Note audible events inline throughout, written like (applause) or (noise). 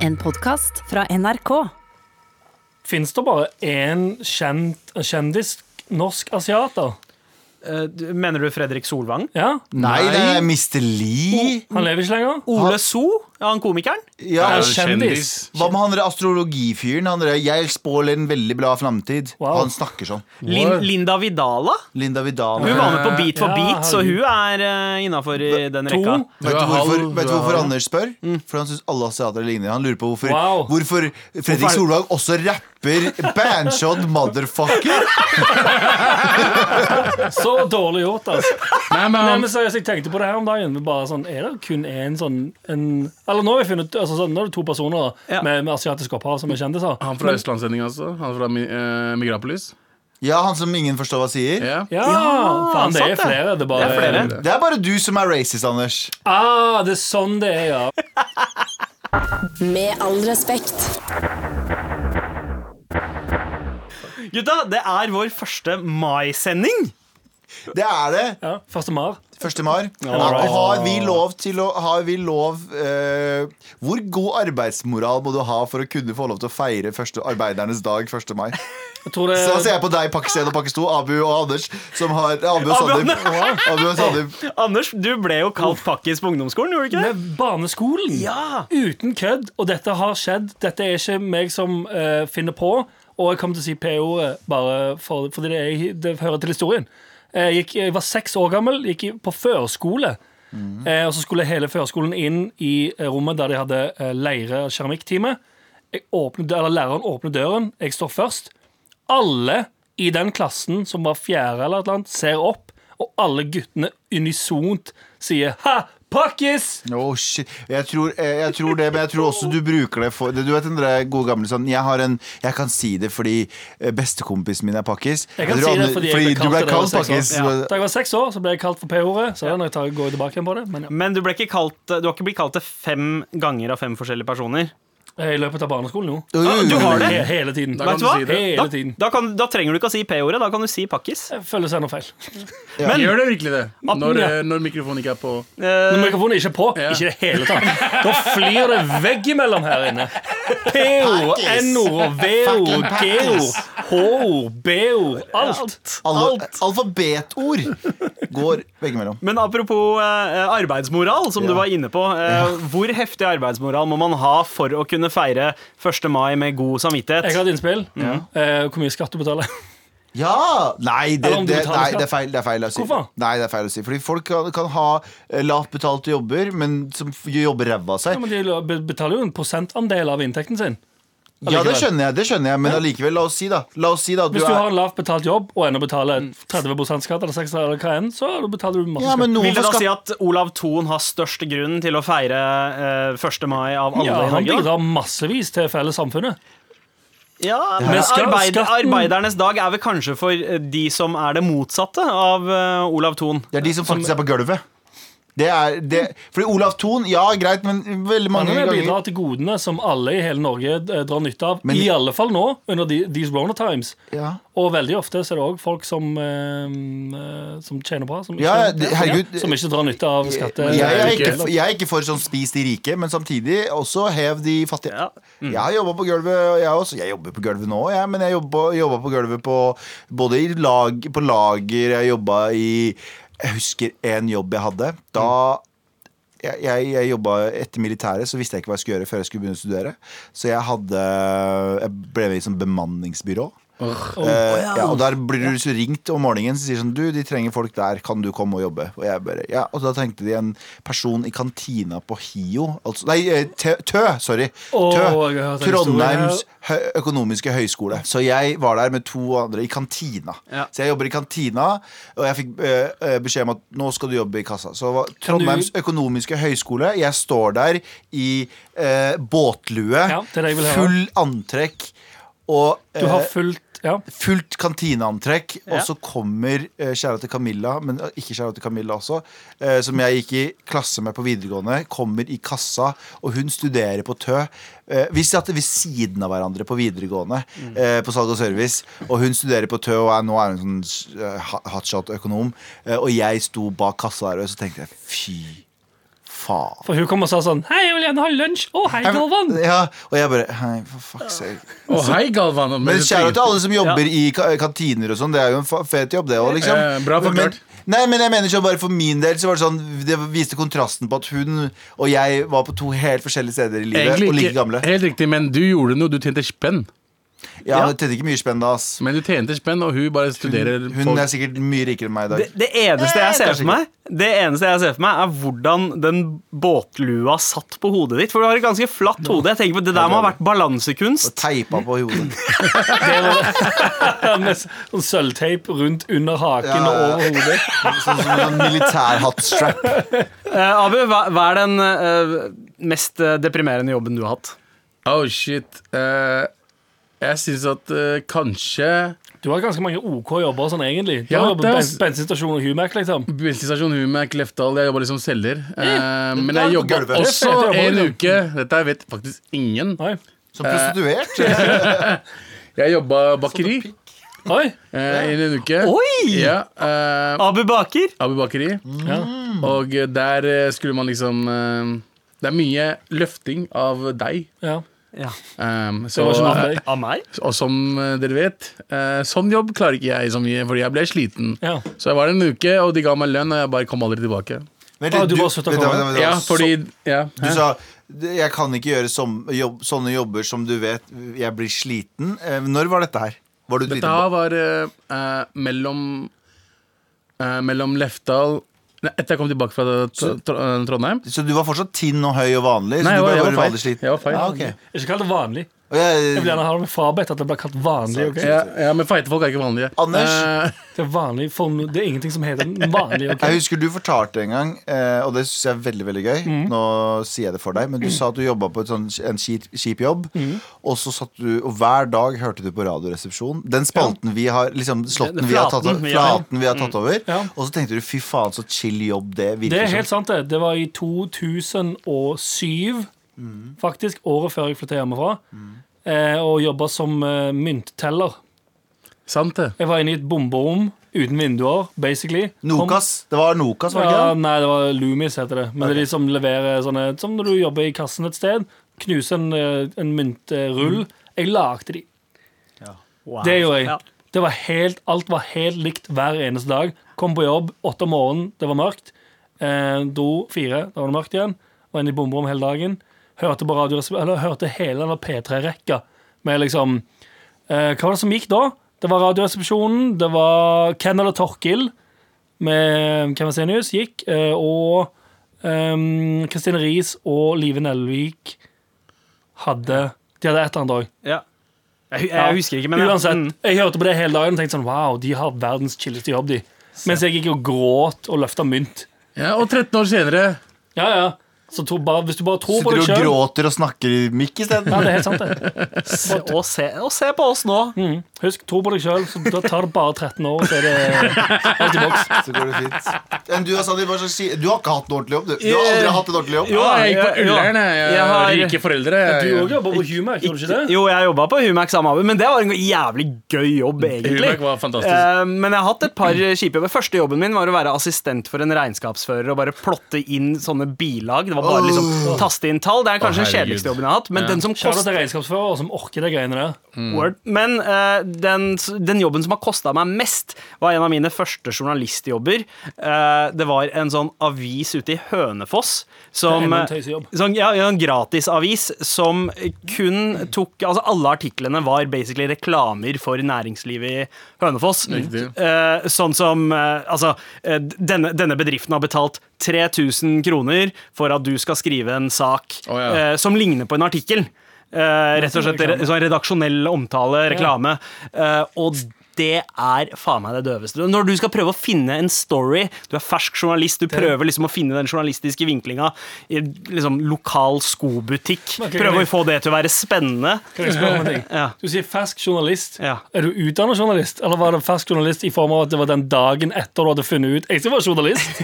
En podkast fra NRK. Fins det bare én kjent, kjendis norsk asiater? Eh, du- Mener du Fredrik Solvang? Ja? Nei, det er Mr. Lee. Han lever ikke lenger? Ole So? Ja, han komikeren? Ja. Han Er er jo kjendis. kjendis. Hva med han der astrologifyren? Han der, jeg spår en veldig bra framtid. Wow. Han snakker sånn. Lin Linda Vidala? Linda Vidal. Hun var med på Beat for Eh, Ja, beat, så herregud. hun er eh, innafor i den To. rekka. Vet du Du er hvorfor, halv, vet du du er hvorfor halv. Anders spør? For han syns alle asiater ligner. Han lurer på hvorfor, Wow. hvorfor Fredrik Hvorfor er- Solvang også rapper Banshod motherfucker. (laughs) Så dårlig gjort, (laughs) altså. Nei, men Nei, han, men seriøst, Jeg tenkte på det her om dagen. men Bare sånn, er det kun én sånn en, Eller nå har vi funnet altså, sånn, Nå er det to personer da, Ja. med, med asiatisk opphav som er kjendiser. han fra Østlandssendinga også. Han fra Mi- eh, Migrapolis. Ja, han som ingen forstår hva sier. Ja. Ja, Ja, faen, det sant er det. flere. Det er bare Det er flere. Det er bare du som er racist, Anders. Ah, det er sånn det er, ja. Med all respekt. Gutta, det er vår første mai-sending. Det er det. ja. Første mar. 1. mai. right. Har vi lov til å Har vi lov eh, Hvor god arbeidsmoral må du ha for å kunne få lov til å feire første, arbeidernes dag 1. mai? Jeg tror det Så ser jeg på deg, Pakistan og Pakistan, Abu og Anders, som har Abu og Sandeep. Abu og Sandeep. Anders, du ble jo kalt pakkis på ungdomsskolen, gjorde du ikke det? med barneskolen. Ja. Uten kødd. Og dette har skjedd. Dette er ikke meg som eh, finner på. Og jeg kommer til å si P-ordet bare for, fordi det, er, det hører til historien. Eh, Jeg, gikk, jeg var seks år gammel, gikk i- på førskole. Eh, og så skulle hele førskolen inn i eh, rommet der de hadde eh, leire- og keramikktime. Jeg åpner dø- eller Læreren åpner døren, jeg står først. Alle i den klassen som var fjerde eller et eller annet, ser opp, og alle guttene unisont sier 'ha, pakkis'! Åh, Oh, shit. Jeg, tror, eh, jeg tror det, men jeg tror også du bruker det for Du vet den der gode gamle sånn Jeg, har en, jeg kan si det fordi eh, bestekompisen min er pakkis. Jeg kan tror si det Anne- fordi jeg ble kalt det altså. da jeg du ble kalt var seks pakkis. år. Da jeg var seks år, så ble jeg kalt for P-ordet. Så når jeg tar, går tilbake igjen på det Men ja. Men du, ble ikke kalt, eh, du har ikke blitt kalt det fem ganger av fem forskjellige personer. eh, I løpet av barneskolen, jo. Ah, du har det? He hele tiden. Da kan Vet du hva? si det. Hele Da, tiden. da, kan, da trenger du ikke å si P-ordet, da kan du si pakkis. Jeg føler seg noe feil. Men Gjør det virkelig det? Når, ja. eh, når mikrofonen ikke er på. eh, Når mikrofonen er ikke på, Ja. ikke i det hele tatt, da flyr det veggimellom her inne. P-ord, N-ord, V-ord, G-ord, H-ord, B-ord. Alt. Alle, alfabetord går veggimellom. Men apropos eh, arbeidsmoral, som du var inne på. Eh, Hvor heftig arbeidsmoral må man ha for å kunne feire 1. mai med god samvittighet? Jeg har et innspill. Eh, hvor mye skatt du betaler. Ja! Nei, det, Eller om du det, betaler nei, skatt. det, er, feil, det er feil å si. Hvorfor? Nei, det er feil å si Fordi folk kan, kan ha eh, lavt betalte jobber, men som f- jobber ræva av Ja, seg. men de lo- be- betaler jo en prosentandel av inntekten sin. Ja, det allikevel. skjønner jeg, det skjønner jeg men allikevel, la oss si da La oss si da at du Hvis du har er Mm. en lavt betalt jobb og ennå betaler 30 skatt, eller 6 eller hva enn, så betaler du masse ja, men skatt. noen Vil det får da si skatt. at Olav Thon har størst grunn til å feire eh, 1. mai av alle Ja, i han Norge? da? bidrar massevis til fellessamfunnet. Ja, men Men skal- arbeid, skatten- Arbeidernes dag er vel kanskje for eh, de som er det motsatte av eh, Olav Thon. Det er de som faktisk er på gulvet. Det er det, Fordi Olav Thon, ja greit, men veldig mange Mange ganger bidrar til godene som alle i hele Norge eh, drar nytte av. Men- I alle fall nå, under de, these Rona times. ja. Og veldig ofte så er det òg folk som, eh, eh, som tjener bra, som ikke, Ja, ja, det- herregud. som ikke drar nytte av skatte... jeg, jeg, er det er ikke, jeg er ikke for sånn spis de rike, men samtidig også hev de fattige. Ja. Jeg har jobba på gulvet, og jeg også. Jeg jobber på gulvet nå, jeg, men jeg jobba jobba på gulvet på både i lag, på lager, jeg jobba i Jeg husker en jobb jeg hadde. Da jeg, jeg, jeg jobba etter militæret, så visste jeg ikke hva jeg skulle gjøre før jeg skulle begynne å studere. Så jeg hadde Jeg ble med i sånn bemanningsbyrå. Eh, ja, og der blir du så ringt om morgenen som sier sånn Du, de trenger folk der, kan du komme og jobbe? Og jeg bare, ja Og da trengte de en person i kantina på Hio altså, Nei, eh, Tø, Tø, sorry Åh, Tø, jeg har hørt den Trondheims hø økonomiske høyskole Så jeg var der med to andre i kantina Ja. Så jeg jobber i kantina Og jeg fikk eh, eh, beskjed om at nå skal du jobbe i kassa Så var Trondheims økonomiske høyskole Jeg står der i eh, båtlue Ja, det er det jeg vil høre. Full antrekk og, Du eh, har fullt ja. fullt kantineantrekk, og Ja. så kommer eh, kjære til Camilla, men eh, ikke kjære til Camilla også, eh, som jeg gikk i klasse med på videregående, kommer i kassa, og hun studerer på Tø. Eh, vi satt ved siden av hverandre på videregående, eh, på salg og service, og hun studerer på Tø, og er, nå er hun sånn eh, hotshot-økonom, eh, og jeg sto bak kassa der, og så tenkte jeg, fy faen. For hun kom og sa sånn Hei, jeg vil gjerne ha lunsj. Å, hei, Galvan. Ja, og jeg bare Hei, for fuck's sake. Å, hei, Galvan. Men kjære til alle som jobber i ka- kantiner og sånn. Det er jo en fa- fet jobb, det òg, liksom. Eh, bra forklart. Men, nei, men jeg mener sånn bare for min del så var det sånn Det viste kontrasten på at hun og jeg var på to helt forskjellige steder i livet og Egentlig like ikke gamle. helt riktig, men du gjorde noe. Du tjente spenn. eh, Ja, det tente ikke mye spenn da, ass. Men du tjente spenn, og hun bare studerer Hun er sikkert mye rikere enn meg i Det, dag. det, eneste jeg ser kanskje for meg, Eh, det eneste jeg ser for meg, er hvordan den båtlua satt på hodet ditt. For du har et ganske flatt hode. Jeg tenker på Det der må ha vært Og balansekunst. teipa på hodet. Med s- sånn sølvteip rundt under haken Ja, og ja. over hodet. Sånn som en militærhattstrap. Eh, Abu, hva, hva er den eh, mest eh, deprimerende jobben du har hatt? Oh, shit. Eh, jeg syns at eh, kanskje Du har ganske mange OK jobber sånn egentlig. Du Ja, har jobbet det er- ben- bensinstasjon og Humac, liksom. Bensinstasjon Humac, Lefdal. Jeg jobba litt som selger. Eh, men jeg Ja, på jobba gulvet. også Det er fete en jobber, uke Dette vet faktisk ingen. Oi. Som Eh. prostituert. Jeg jobba bakeri Oi. eh, i en uke. Oi! Ja, eh, Abu Baker? Abu Bakeri. Ja. Og eh, der eh, skulle man liksom eh, Det er mye løfting av deig. ja. Ja. Um, Det så, var ikke noe for deg. Av meg? og som eh, dere vet, eh, sånn jobb klarer ikke jeg så mye, fordi jeg ble sliten. Ja. Så jeg var en uke, og de ga meg lønn, og jeg bare kom aldri tilbake. Vent Ah, litt, du bare slutta å vent, komme. vent, vent, vent. Ja, fordi ja, Du hæ? sa jeg kan ikke gjøre som, jobb, sånne jobber som du vet jeg blir sliten. Eh, Når var dette her? Var du Dette sliten? her var eh, eh, mellom eh, Mellom Lefdal Nei, etter jeg kom tilbake fra Tr- Tr- eh, Trondheim. Så du var fortsatt tinn og høy og vanlig? Nei, så jeg du var, bare jeg var feil. vanlig sliten? Jeg var feil. Ah, ok. Ikke kall det vanlig. Og jeg- Jeg vil gjerne ha det med frabedt at det blir kalt vanlig. ok? ja, ja, men feite folk er ikke vanlige. Eh, Anders? Det er vanlig form, det er ingenting som heter vanlig. ok? (laughs) Jeg husker du fortalte en gang, eh, og det syns jeg er veldig veldig gøy. Nå sier jeg det for deg, men du sa at du jobba på et sånn, en kjip, kjip jobb. Og så satt du, og hver dag hørte du på Radioresepsjonen. Den spalten vi har liksom, slåtten Den vi har tatt, flaten vi har. flaten vi har tatt over. Ja. Og så tenkte du fy faen, så chill jobb det Det virker er helt som. sant, det. Det var i 2007, faktisk. Året før jeg flytta hjemmefra. eh, Og jobba som eh, myntteller. Sant det. Jeg var inne i et bomberom uten vinduer, basically. Kom- Nokas. Det var Nokas, var det Ja, ikke det? nei, det var Loomis heter det. Men det er de som leverer sånne Som når du jobber i kassen et sted, knuser en, eh, en Mm. myntrull. Jeg lagde de. Wow. Det gjorde jeg. Ja. Det var helt, alt var helt likt hver eneste dag. Kom på jobb åtte om morgenen, det var mørkt. Eh, dro fire, da var det mørkt igjen. Var inne i bomberom hele dagen. Hørte på radio, eller hørte hele den der P3-rekka med liksom eh, Hva var det som gikk da? Det var Radioresepsjonen, det var Ken eller Torkil med Kavasenius gikk, eh, og eh, Kristine Riis og Live Nelvik hadde De hadde et eller annet òg. Ja. Jeg, hu- jeg husker ikke, men jeg- Uansett, Mm. jeg hørte på det hele dagen og tenkte sånn Wow, de har verdens chilleste jobb, de. Mens jeg gikk og gråt og løfta mynt. Ja, og 13 år senere Ja, ja. Så tro, bare, hvis du bare tror på deg Sitter og sjøl gråter og snakker i mikk isteden. ja, det er helt sant det. Og se, og se på oss nå. Mm. Husk, tro på deg sjøl, så da tar det bare 13 år, så er det alt i boks. (laughs) Så går det fint. Men du, Sandeep, hva slags si- du har ikke hatt en ordentlig jobb, du. Du har aldri hatt en ordentlig jobb. Jo, Ja, jeg gikk på ja, ja. Ullern, jeg. Jeg Jeg har- har rike foreldre. jeg. Du òg jobber på Humac, gjorde du ikke det? Jo, jeg jobba på Humac sammen med Abu, men det var en jævlig gøy jobb, egentlig. Humac var fantastisk. Eh, men jeg har hatt et par kjipe jobber. Første jobben min var å være assistent for en regnskapsfører og bare plotte inn sånne bilag. Det var bare liksom taste inn tall. Det er kanskje den herregud. kjedeligste jobben jeg har hatt, men den som Kjære kost til regnskapsfører som orker de greiene der. Word. Men eh, den, den jobben som har kosta meg mest, var en av mine første journalistjobber. Eh, det var en sånn avis ute i Hønefoss som Det er enda en eh, tøysejobb. Sånn, ja, ja, en gratisavis som kun tok Altså, alle artiklene var basically reklamer for næringslivet i Hønefoss. Riktig. Eh, sånn som eh, Altså, eh, denne, denne bedriften har betalt 3000 kroner for at du skal skrive en sak Å, ja. eh, som ligner på en artikkel. Eh, rett og slett re- sånn redaksjonell omtale, reklame. Eh, og det er faen meg det døveste. Når du skal prøve å finne en story, du er fersk journalist, du prøver liksom å finne den journalistiske vinklinga i liksom lokal skobutikk. Men, ok, Prøver kan jeg- å få det til å være spennende. Kan jeg spørre om en ting? (laughs) Ja. Du sier fersk journalist. Ja. Er du utdannet journalist, eller var det fersk journalist i form av at det var den dagen etter du hadde funnet ut Jeg skal være journalist.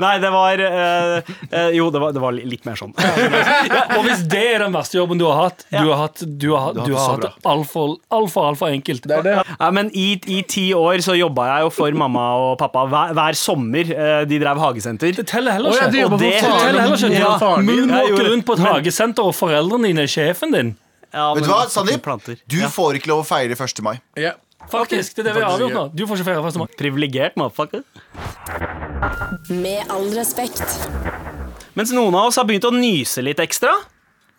Nei, det var eh, eh, Jo, det var, det var li- litt mer sånn. (laughs) Og hvis det er den verste jobben du har hatt Du har hatt, du har, hatt- du har Du har hatt det så hatt det altfor, altfor, altfor enkelt. Det er det. Nei, men i, I ti år så jobba jeg jo for mamma og pappa hver, hver sommer. eh, De drev hagesenter. Det teller heller Å, ja, ikke. du jobber Og for det faren teller heller din. ikke. Ja, faren din. Men du Jeg gjorde måker det. rundt på et hagesenter, og foreldrene dine er sjefen din. Ja, Vet men- du hva, Sandeep? Planter. Du ja. får ikke lov å feire 1. mai. Ja. Faktisk, Det er det vi har Faktisk avgjort nå. Du får ikke feire 1. mai. Privilegert motherfucker. Med all respekt. Mens noen av oss har begynt å nyse litt ekstra.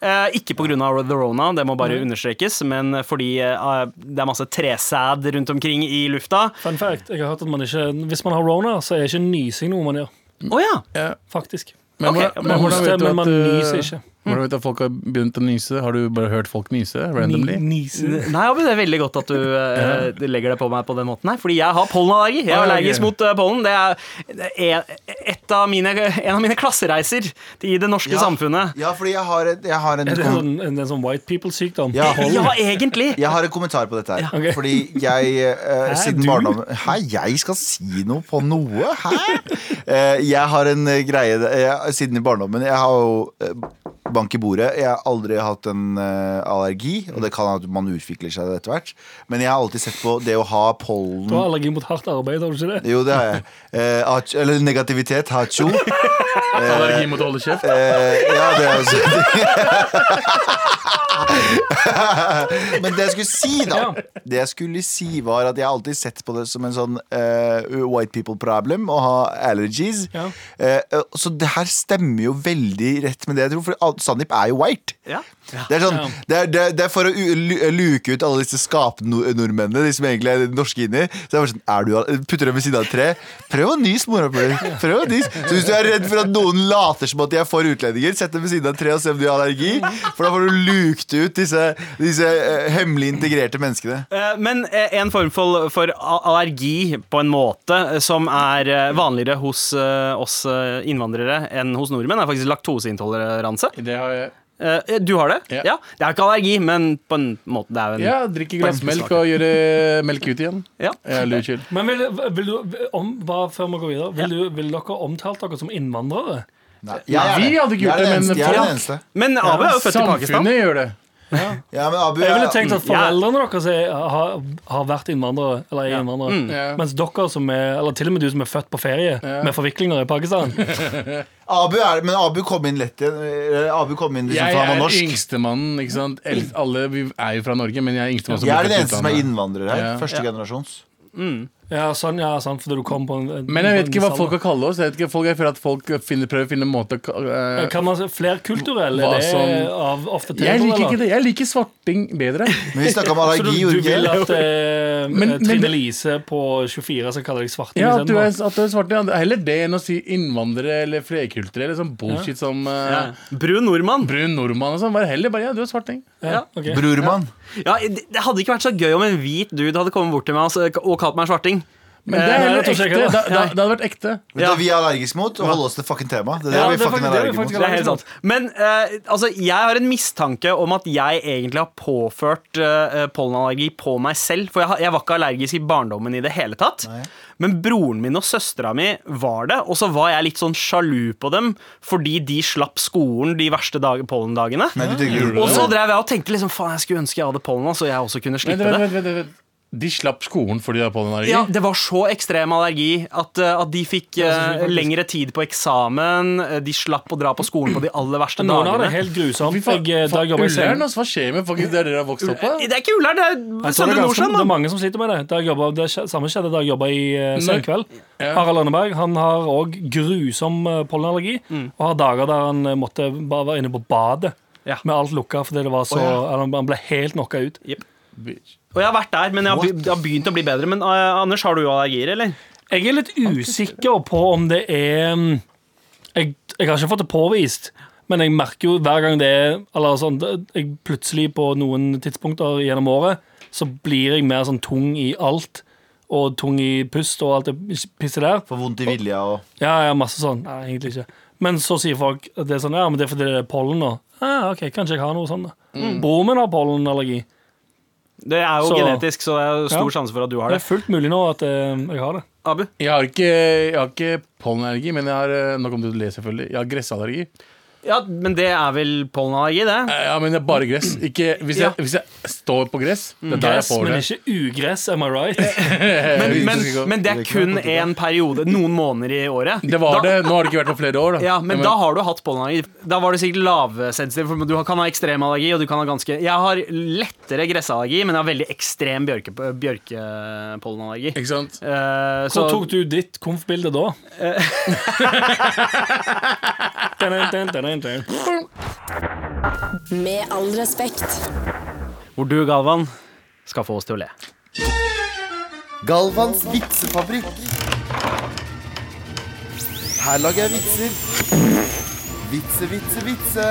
Eh, ikke pga. the rona, det må bare understrekes, men fordi eh, det er masse tresæd rundt omkring i lufta. Fun fact, jeg har hørt at man ikke, Hvis man har rona, så er ikke nysing noe man gjør. Å ja! Ja. Faktisk. Men, Ok, hvordan, men man hvordan hoster, vet du men man at, uh, nyser ikke. Hvordan vet du at folk har begynt å nyse? Har du bare hørt folk nyse randomly? Nysing. Nei, Abu, det er veldig godt at du eh, du legger det på meg på den måten her, fordi jeg har pollenallergi. Jeg er Ah, ok. allergisk mot eh, pollen. Det er- det er et av mine, en av mine klassereiser i det norske Ja. samfunnet. Ja, fordi jeg har, et, jeg har en Er det kom- sånn, en, en sånn white people-sykdom? Ja. Pollen. (laughs) Ja, egentlig! Jeg har en kommentar på dette her. ok. Fordi jeg eh, siden du? barndommen Hæ, jeg skal si noe på noe? Hæ? Eh, jeg har en eh, greie jeg, siden i barndommen Jeg har jo eh, bank i bordet. Jeg har aldri hatt en eh, allergi, og det kan at man utvikler seg etter hvert. Men jeg har alltid sett på det å ha pollen Du har allergi mot hardt arbeid, har du ikke det? Jo, det har jeg. Eh, ach- eller negativitet. Hacho. Allergi mot å holde kjeft? Eh, ja, det er også (laughs) Men det jeg skulle si, da Ja. Det jeg skulle si var at jeg har alltid sett på det som en sånn eh, white people problem å ha allergies. Ja. Eh, eh, så det her stemmer jo veldig rett med det jeg tror, for al- Sandeep er jo white. Ja. Det er, sånn, Ja. det, er, det, er, det er for å u- lu- luke ut alle disse skapnordmennene, de som egentlig er norske inni. Så jeg bare sånn, er du, al- Putter dem ved siden av et tre. Prøv å nyse, morapuler. Prøv å nyse. Så hvis du er redd for at noen later som at de er for utlendinger, sett dem ved siden av et tre og se om de har allergi. For da får du lukt ut disse, disse eh, hemmelig integrerte menneskene. Eh, Men eh, en form for, for a- allergi, på en måte, eh, som er eh, vanligere hos eh, oss eh, innvandrere enn hos nordmenn, er faktisk laktoseintoleranse. Det har jeg. Eh, Du har det? Ja. Ja. Det er ikke allergi, men på en måte det er jo en Ja, drikke glassmelk og gjøre melk ut igjen. Ja. Ja, Luchill. Men vil, vil du, om, bare før vi går videre, vil, du, vil dere omtalt dere som innvandrere? Nei, Nei, vi hadde ikke jeg er gjort det, den men eneste- jeg er folk- den eneste. Men Abu er jo født i Pakistan. Samfunnet gjør det. Ja, men Abu Jeg ville jeg- tenkt at Ja. foreldrene deres er, har, har vært innvandrere, eller er innvandrere. Ja. Mens dere som er, eller til og med du som er født på ferie med forviklinger i Pakistan Abu er, men Abu kom inn lett igjen. Eh, Abu kom inn liksom, Jeg for han er var norsk. yngstemannen, ikke sant. Eld- Alle vi er jo fra Norge, men jeg er yngstemann som Jeg er ble den født i eneste som er utlandet. innvandrer her. Ja. Første generasjons. Ja, sånn, ja, sånn, fordi du kom på en, en Men jeg vet ikke hva folk har har kalt oss. Jeg, vet ikke, folk, jeg føler at folk finner, prøver å finne en måte å ka- eh, Kan man se flerkulturell? Hva Er det som- av ofte Jeg liker ikke det. Jeg liker svarting bedre. Men vi snakka om Så du, allergi, du gjorde vi vil ikke det? at eh, (laughs) Men- men Trine det- Lise på 24 skal kalle deg svarting? Ja, at du er, istedenfor? at du er svarting. ja. Heller det enn å si innvandrere eller flerkulturelle. Sånn bullshit som eh, Ja. Brun nordmann. brun nordmann og sånn. Vær heller bare ja, du er svarting. ja, ok. Brormann. Ja, det det hadde ikke vært så gøy om en hvit dude hadde kommet bort til meg og s- og kalt meg svarting. Men det Eh, er nei, heller det tror jeg ekte. ikke, Da, da. da, det hadde vært ekte. Vet du Ja. hva vi er allergiske mot? Å holde oss til fucking tema. Det er det Ja, vi det er fucking faktisk- er det er vi allergiske faktisk mot. Det er helt sant. Men eh, altså, jeg har en mistanke om at jeg egentlig har påført eh, pollenallergi på meg selv. For jeg, har- jeg var ikke allergisk i barndommen i det hele tatt. Men broren min og søstera mi var det, og så var jeg litt sånn sjalu på dem fordi de slapp skolen de verste dag pollendagene. Nei, du tenker Og så drev jeg og tenkte liksom, faen, jeg skulle ønske jeg hadde pollen, så jeg også kunne Vent, slippe vent, det. vent, vent, vent. De slapp skolen fordi de har pollenallergi? Ja, Det var så ekstrem allergi at, eh, at de fikk Ja, så eh, sjukt, faktisk. lengre tid på eksamen. eh, De slapp å dra på skolen på de aller verste Noen har det dagene. helt grusomt. Fy faen, Jeg, eh, da faen, jeg jobba i Ullern, Søgne altså, hva skjer med faktisk det dere har vokst opp på? Det er ikke Ullern, det er Jeg tror det, Søndre er ganske, det Nordstrand. er mann. mange som sliter med det. Da jeg jobbet, det skje- samme skjedde da jeg jobba i uh, Nei. Senkveld. Ja. Harald Lønneberg han har òg grusom eh, pollenallergi. Og har dager der han eh, måtte bare være inne på badet Ja. med alt lukka fordi det var så, Å, han, han ble helt knocka ut. Bitch. Og jeg har vært der, men jeg har, be What? jeg har begynt å bli bedre. Men eh, Anders, har du allergier, eller? Jeg er litt usikker på om det er mm, Jeg, jeg har ikke fått det påvist. Men jeg merker jo hver gang det er Eller sånn, det- jeg plutselig på noen tidspunkter gjennom året Så blir jeg mer sånn tung i alt. Og tung i pust og alt det pisset der. Får vondt i vilja og Ja, ja, masse sånn. Nei, egentlig ikke. Men så sier folk at det er sånn, ja, men det er fordi det er pollen nå. Ah, ok, kanskje jeg har noe sånn da. Mm. Broren min har pollenallergi. Det er jo Så- genetisk, så det er jo stor Ja. sjanse for at du har Det det. er fullt mulig nå at eh, jeg har det. Abu? Jeg har ikke, jeg har ikke pollenallergi, men jeg har eh, Nå kommer du til å le, selvfølgelig. Jeg har gressallergi. Ja, men det er vel pollenallergi, det? Eh, Ja, men det er bare gress. Ikke, hvis, Ja. jeg, hvis jeg står på gress. Det er der jeg Gress, får men det. ikke ugress, am I (laughs) right? Men, men, men Eh, det er Det kan kun jeg godt én periode. Noen måneder i året. Det var Da- det. Nå har det ikke vært på flere år. Da. Ja, men da har du hatt pollenallergi. Da var du sikkert lavsensitiv. For du kan ha ekstrem allergi, og du kan ha ganske Jeg har lettere gressallergi, men jeg har veldig ekstrem bjørke, bjørkepollenallergi. Ikke sant? Eh, så Hvor tok du ditt konf-bilde (laughs) da? Dun, dun, dun, dun, dun. Med all respekt. hvor du, Galvan, skal få oss til å le. Galvans vitsefabrikk. Her lager jeg vitser. Vitse, vitse, vitse.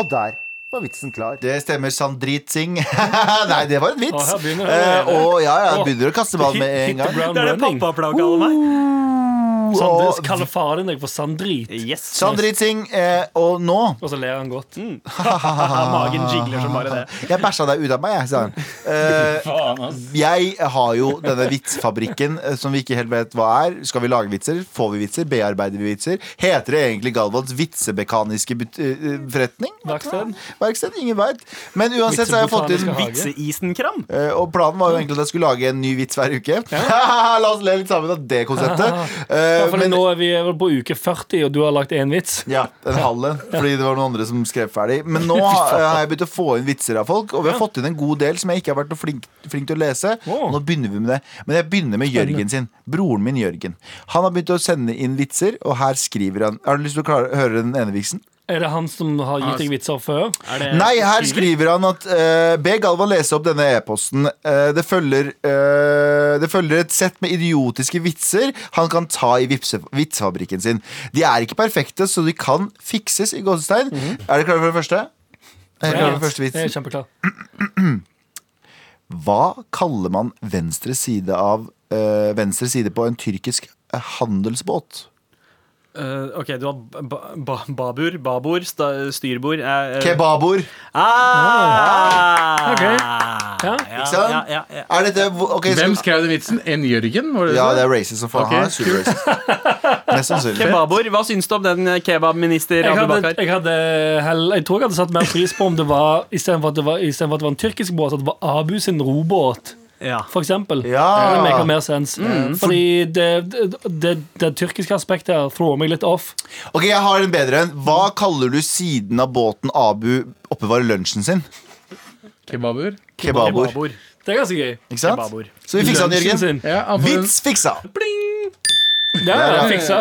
Og der var vitsen klar. Det stemmer, Sandrit Singh. (laughs) Nei, det var en Å, vits. her begynner det Eh, allerede. og ja, ja, jeg Å, begynner å kaste ball med hit- hit en the gang. ground running. pappaplaga over meg. Sandris Og- kaller faren deg for Sandrit, Yes. Sandrit Singh, eh, og nå og så ler han godt. (laughs) Magen jigler som bare det. Jeg bæsja deg ut av meg, jeg, sa (laughs) han. Eh, jeg har jo denne vitsfabrikken eh, som vi ikke helt vet hva er. Skal vi lage vitser? Får vi vitser? Bearbeider vi vitser? Heter det egentlig Galvans vitsemekaniske but- eh, forretning? Verksted? Verksted? Ingen veit. Men uansett så har jeg fått inn Vitsebotaniske hage. Vitseisenkram. Eh, Og planen var jo egentlig at jeg skulle lage en ny vits hver uke. (laughs) La oss le litt sammen av det konseptet. Eh, (laughs) Ja, fordi men- nå er vi vel på uke 40, og du har lagt én vits. Ja, en halv en. Fordi det var noen andre som skrev ferdig. Men nå har eh, har jeg begynt å få inn vitser av folk, og vi har fått inn en god del som jeg ikke har vært noe flink, flink til å lese. Wow. Nå begynner vi med det. Men jeg begynner med Jørgen sin. Broren min Jørgen. Han har begynt å sende inn vitser, og her skriver han Har du lyst til å klare, høre den ene vitsen? Er det han som har gitt deg vitser før? Eh, Nei, her skriver han at eh, Be Galvan lese opp denne e-posten. Eh, det, følger, eh, det følger et sett med idiotiske vitser han kan ta i vipse- vitsefabrikken sin. De er ikke perfekte, så de kan fikses i gåsetegn. Er dere klare for den første? Er dere klare for den første Jeg er vitsen? kjempeklar. Hva kaller man venstre side av eh, Venstre side på en tyrkisk eh, handelsbåt? Eh, ok, du har ba ba babur, babord, sta- styrbord eh, eh. Kebabord. Ah! Ok. Ja. Ja, Ikke sant? ja, ja, ja. Er dette okay, Hvem skal- skrev den vitsen? En Jørgen? Var det Ja, det det? er racist som faen. Ok. Han er superracist. Mest sannsynlig. Kebabord, hva syns du om den eh, kebabminister Jeg, hadde, Abubakar? jeg, hadde, hell- jeg tror jeg hadde satt mer pris på om det var istedenfor at, det var- i stedet for at det var en tyrkisk båt, at det var Abu sin robåt. Ja. For eksempel. Ja. Mm. Det maker mer sens. Mm. Fordi det, det, det, det tyrkiske aspektet her thrower meg litt off. Ok, jeg har en bedre en. Hva kaller du siden av båten Abu oppbevarer lunsjen sin? Kebaber? Kebabord. Kebabord. Det er ganske gøy. Ikke sant? Kebabord. Så vi fiksa den, Lunsjen Jørgen. sin. Ja, han får en- Vits fiksa! Ja, ja, fiksa.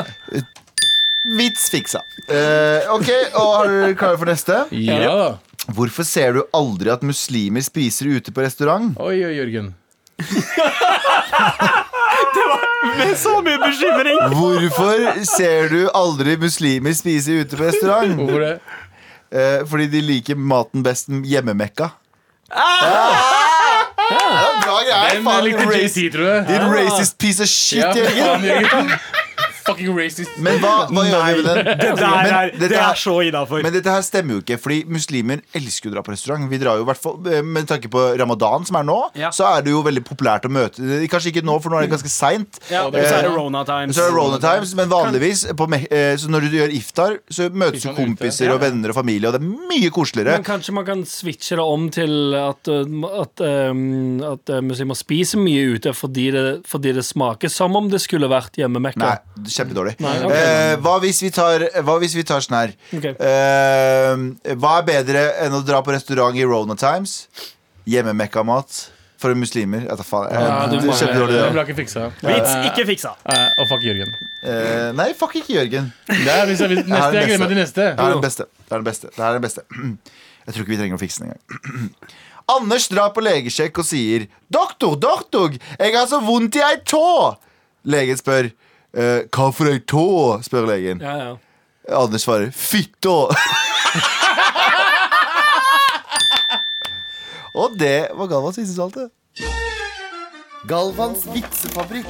Vits fiksa. Eh, ok, og Er dere klare for neste? Ja da. Hvorfor ser du aldri at muslimer spiser ute på restaurant? Oi, oi, Jørgen. Med så mye bekymring! Hvorfor ser du aldri muslimer spise ute på restaurant? Hvorfor det? Eh, fordi de liker maten best hjemmemekka. Ja. Det var bra greier. Ah! Den likte Faen, JT, racist, tror jeg. din racist piece of shit, Ja, Jørgen. faen, Jørgen. Fucking racist. Men hva, hva gjør vi med den? Det der er, dette det er- er så innafor. Men dette her stemmer jo ikke, fordi muslimer elsker å dra på restaurant. Vi drar jo i hvert fall, eh, Med tanke på ramadan, som er nå, Ja. så er det jo veldig populært å møte eh, Kanskje ikke nå, for nå er det ganske seint. Ja, og så er det Rona Times. Så er det Rona Times, men vanligvis på, me- eh, Så når du gjør iftar, så møtes Spiser jo man ute, kompiser ja. og venner og familie, og det er mye koseligere. Men kanskje man kan switche det om til at, uh, at, um, at uh, muslimer spiser mye ute fordi det, fordi det smaker som om det skulle vært hjemmemekka. Nei, kjempedårlig. Nei, ok. eh, hva, hvis vi tar, hva hvis vi tar sånn her Ok. eh, Hva er bedre enn å dra på restaurant i Rona Times? Hjemmemekka-mat for muslimer? Jeg tar faen. Eh, Ja, du det er mangler- kjempedårlig, det. Den ble ikke fiksa. Vits Eh, ikke fiksa. eh, Og fuck Jørgen. Eh, nei, fuck ikke Jørgen. Det er, hvis jeg, hvis, neste, jeg gleder meg til neste. Det er den beste. Det er den beste. Det er den beste. (clears throat) Jeg tror ikke vi trenger å fikse den engang. (clears throat) Anders drar på legesjekk og sier 'Doktor, doktor, jeg har så vondt i ei tå'. Legen spør «Eh, 'Hva for ei tå?' spør legen. Ja, ja. Anders svarer 'Fittå'. og det var Galvans vitsespalte. Galvans vitsefabrikk.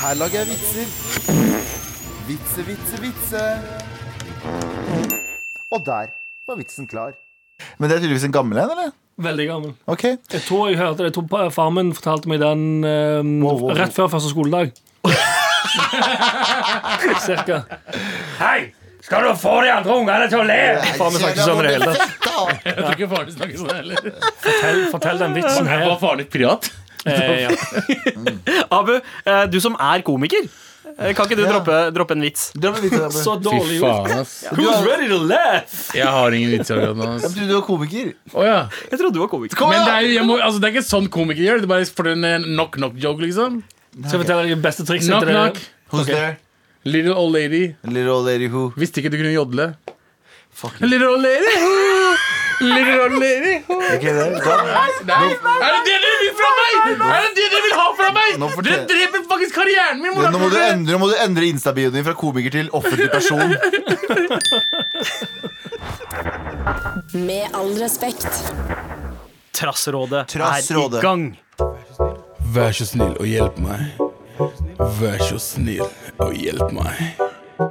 Her lager jeg vitser. Vitse, vitse, vitse. Og der var vitsen klar. Men det er tydeligvis en gammel en, eller? Veldig gammel. Ok Jeg tror jeg hørte det. Jeg tror pa- faren min fortalte meg den um, Wow, wow, wow. rett før første skoledag. Cirka. Hei! Skal du få de andre ungene til å le? Faen, vi snakker ikke sånn sammen i det hele tatt. Jeg tror ikke faren din snakker sånn heller. Sånn Fortell, fortell den vitsen Her her. var faren din pirat. Eh, ja. Abu, eh, du som er komiker, eh, kan ikke du Ja. droppe, droppe en vits? Det var litt det, Så Fy dårlig gjort. faen, ass. Who's ready to laugh? Jeg har ingen vitser akkurat nå. Jeg ass. trodde du var komiker. Å ja. Jeg trodde du var komiker. Kom Men det igjen! er, jo- jeg må, altså, det er ikke sånn komikere gjør. Det er bare for en eh, knock-knock-joke, liksom. Skal jeg fortelle deg det beste trikset? til dere? Knock-knock. Who's there? Little old lady. Little old lady who? Visste ikke du kunne jodle. Little old lady. (laughs) Little old lady. Ok, det- da- Nei, er det det dere vil fra meg?! Er det det dere vil ha fra meg?! Nå fortell- Dere dreper faktisk karrieren min! Nå må du hvordan- endre, nå må du endre Insta-bioen din fra komiker til offentlig person. Med all respekt. Trassrådet, er Trassrådet. i gang. Vær så snill og hjelp meg. Vær så snill og hjelp meg. (laughs)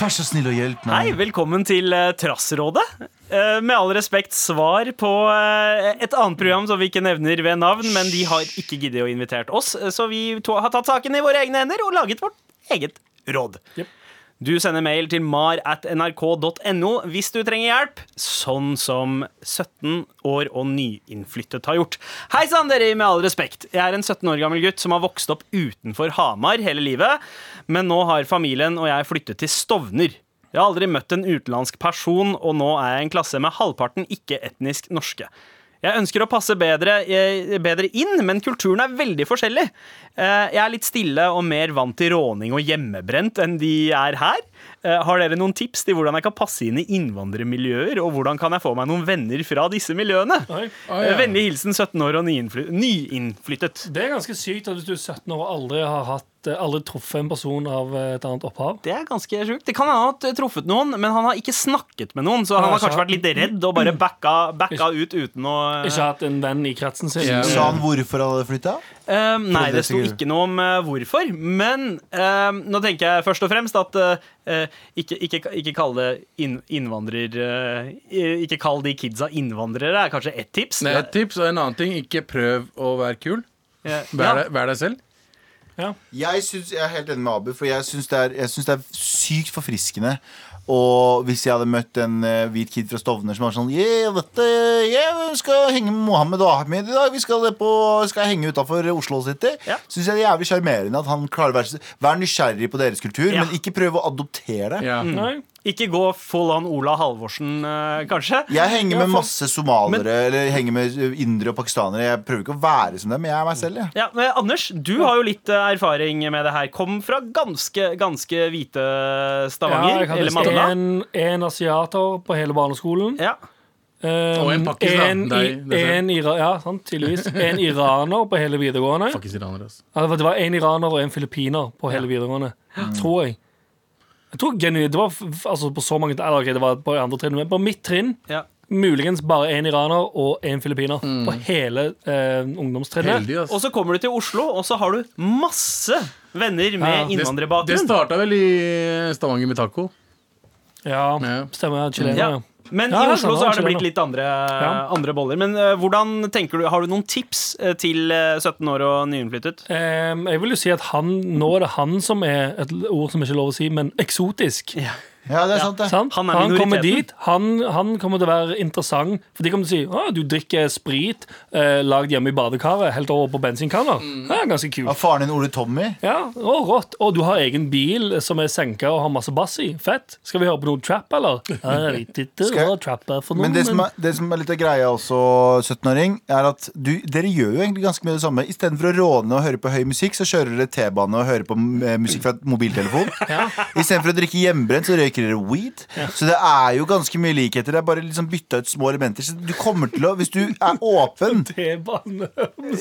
Vær så snill og hjelp meg. Hei, velkommen til eh, Trassrådet. Eh, Med all respekt svar på eh, et annet program som vi ikke nevner ved navn, men de har ikke giddet å invitert oss, eh, så vi to har tatt saken i våre egne hender og laget vårt eget råd. Jep. Du sender mail til mar at nrk.no hvis du trenger hjelp, sånn som 17 år og nyinnflyttet har gjort. Hei sann, dere, i med all respekt. Jeg er en 17 år gammel gutt som har vokst opp utenfor Hamar hele livet, men nå har familien og jeg flyttet til Stovner. Jeg har aldri møtt en utenlandsk person, og nå er jeg i en klasse med halvparten ikke-etnisk norske. Jeg ønsker å passe bedre, eh, bedre inn, men kulturen er veldig forskjellig. Eh, Jeg er litt stille og mer vant til råning og hjemmebrent enn de er her. Eh, Har dere noen tips til hvordan jeg kan passe inn i innvandrermiljøer, og hvordan kan jeg få meg noen venner fra disse miljøene? Oi. Å, ja. Eh, Vennlig hilsen 17 år og nyinnfly- nyinnflyttet. Det er ganske sykt at hvis du er 17 år og aldri har hatt, eh, aldri truffet en person av eh, et annet opphav. Det er ganske sjukt. Det kan ha hatt truffet noen, men han har ikke snakket med noen, så han har Altså- kanskje vært litt redd og bare backa, backa ut uten å Ikke hatt en venn i kretsen sin. Ja. Sa han hvorfor han hadde flytta? Eh, nei, det det sto sikkert. ikke noe om eh, hvorfor. Men eh, nå tenker jeg først og fremst at eh, eh, ikke, ikke, ikke kall det inn, innvandrer... eh, ikke kall de kidsa innvandrere, er kanskje ett tips. Nei, et tips og en annen ting. Ikke prøv å være kul. Eh, Vær, ja. deg- vær deg selv. Jeg, syns, jeg er helt enig med Abu, for jeg syns det, er- jeg syns det er sykt forfriskende. Og hvis jeg hadde møtt en eh, hvit kid fra Stovner som var sånn yeah, dette, yeah, vi skal henge med Mohammed og Ahmed i dag. Vi skal, på, skal henge utafor Oslo City. Ja. Syns jeg det er jævlig sjarmerende at han klarer å være Vær nysgjerrig på deres kultur, Ja. men ikke prøv å adoptere det. Ja. Nei. Ikke gå full on Ola Halvorsen, eh, kanskje. Jeg henger Ja, med for- masse somaliere Eller henger med indere og pakistanere. Jeg prøver ikke å være som dem, jeg er meg selv. Jeg. Ja, men Anders, du har jo litt eh, erfaring med det her. Kom fra ganske, ganske hvite Stavanger. jeg hadde eller Madonna. en, en asiater på hele barneskolen. Ja. Um, Og en pakkis, da. En, i, Nei, det ser- en, ira ja, sant, tydeligvis. en iraner på hele videregående. Fuckings iraner, ass. Ja, Altså, Det var- det var en iraner og en filippiner på hele videregående. Tror jeg. Jeg tror genu- Det var f- f- altså på så mange eller, ok, Det var på andre trinn, men på mitt trinn Ja. muligens bare en iraner og en filippiner Mm. på hele eh, ungdomstrinnet. Heldig, ass. Og så kommer du til Oslo, og så har du masse venner Ja. med Det- Det innvandrerbakgrunn. starta vel i Stavanger med taco. Ja, Ja. stemmer. Chilener. Ja. Ja. Men Ja, i det Oslo skjønner så jeg, har det skjønner. blitt litt andre, andre boller. Men eh, hvordan tenker du, har du noen tips eh, til eh, 17 år og nyinnflyttet? Ehm, jeg vil jo si at han, nå er det han som er et l- ord som ikke er lov å si, men eksotisk. Ja, det er sant, det. Sant? Han er han kommer minoriteten. dit, han, han kommer til å være interessant. For de kommer til å si at du drikker sprit eh, lagd hjemme i badekaret, helt over på bensinkanner. Mm. Det er ganske Av kult. faren din Ole Tommy. Ja, å, rått. Og du har egen bil som er senka og har masse bass i. Fett. Skal vi høre på noe trap, (laughs) eller? Ja, jeg vet ikke Skal jeg- hva trap er for noe, Men (laughs) det som, er, det som er litt av greia også, 17-åring, er at du, dere gjør jo egentlig ganske mye det samme. Istedenfor å råne og høre på høy musikk, så kjører dere T-bane og hører på eh, musikk fra et mobiltelefon. (laughs) Istedenfor å drikke hjemmebrent, så røyker dere weed. Så det er jo ganske mye likheter. Det er bare liksom bytta ut små elementer. Så du kommer til å, hvis du er åpen T-bane.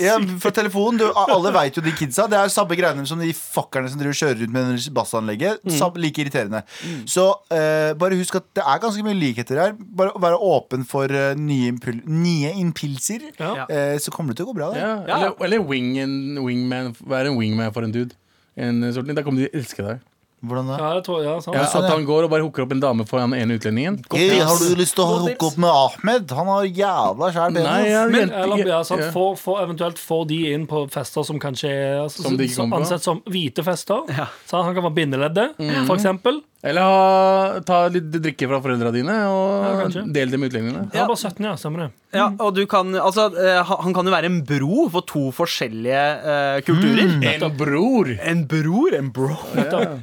ja, fra telefonen, du, Alle vet jo de kidsa. Det er samme greiene som de fuckerne som driver og kjører rundt med det bassanlegget. Sam- Like irriterende. Så eh, bare husk at det er ganske mye likheter her. Bare å være åpen for eh, nye, impul nye impulser, Ja. eh, så kommer det til å gå bra. Det. Ja, eller eller wing en- wingman. Vær en wingman for en dude. En eh, sorten, Da kommer de til å elske deg. Hvordan da? Ja, det tror jeg. Ja, sant. Ja, sånn, at ja. han går og bare hooker opp en dame for han ene utlendingen. Hey, har du lyst til å Godt tips. hooke opp med Ahmed? Han har jævla skjær Nei, penis. jeg- Men, jente- eller, ja, sant, ja. får- får- eventuelt får de inn på fester som kanskje er altså, Som de ikke som kommer på. ansett som hvite fester. Så han kan være bindeleddet, for eksempel. Eller ha, ta litt drikke fra foreldra dine og kanskje. del det med utlendingene. Han var bare 17, ja. Stemmer det. Ja, og du kan, altså, eh, han han kan jo være en bro for to forskjellige eh, kulturer. Mm. En bror! En bror? En bro? Nettopp.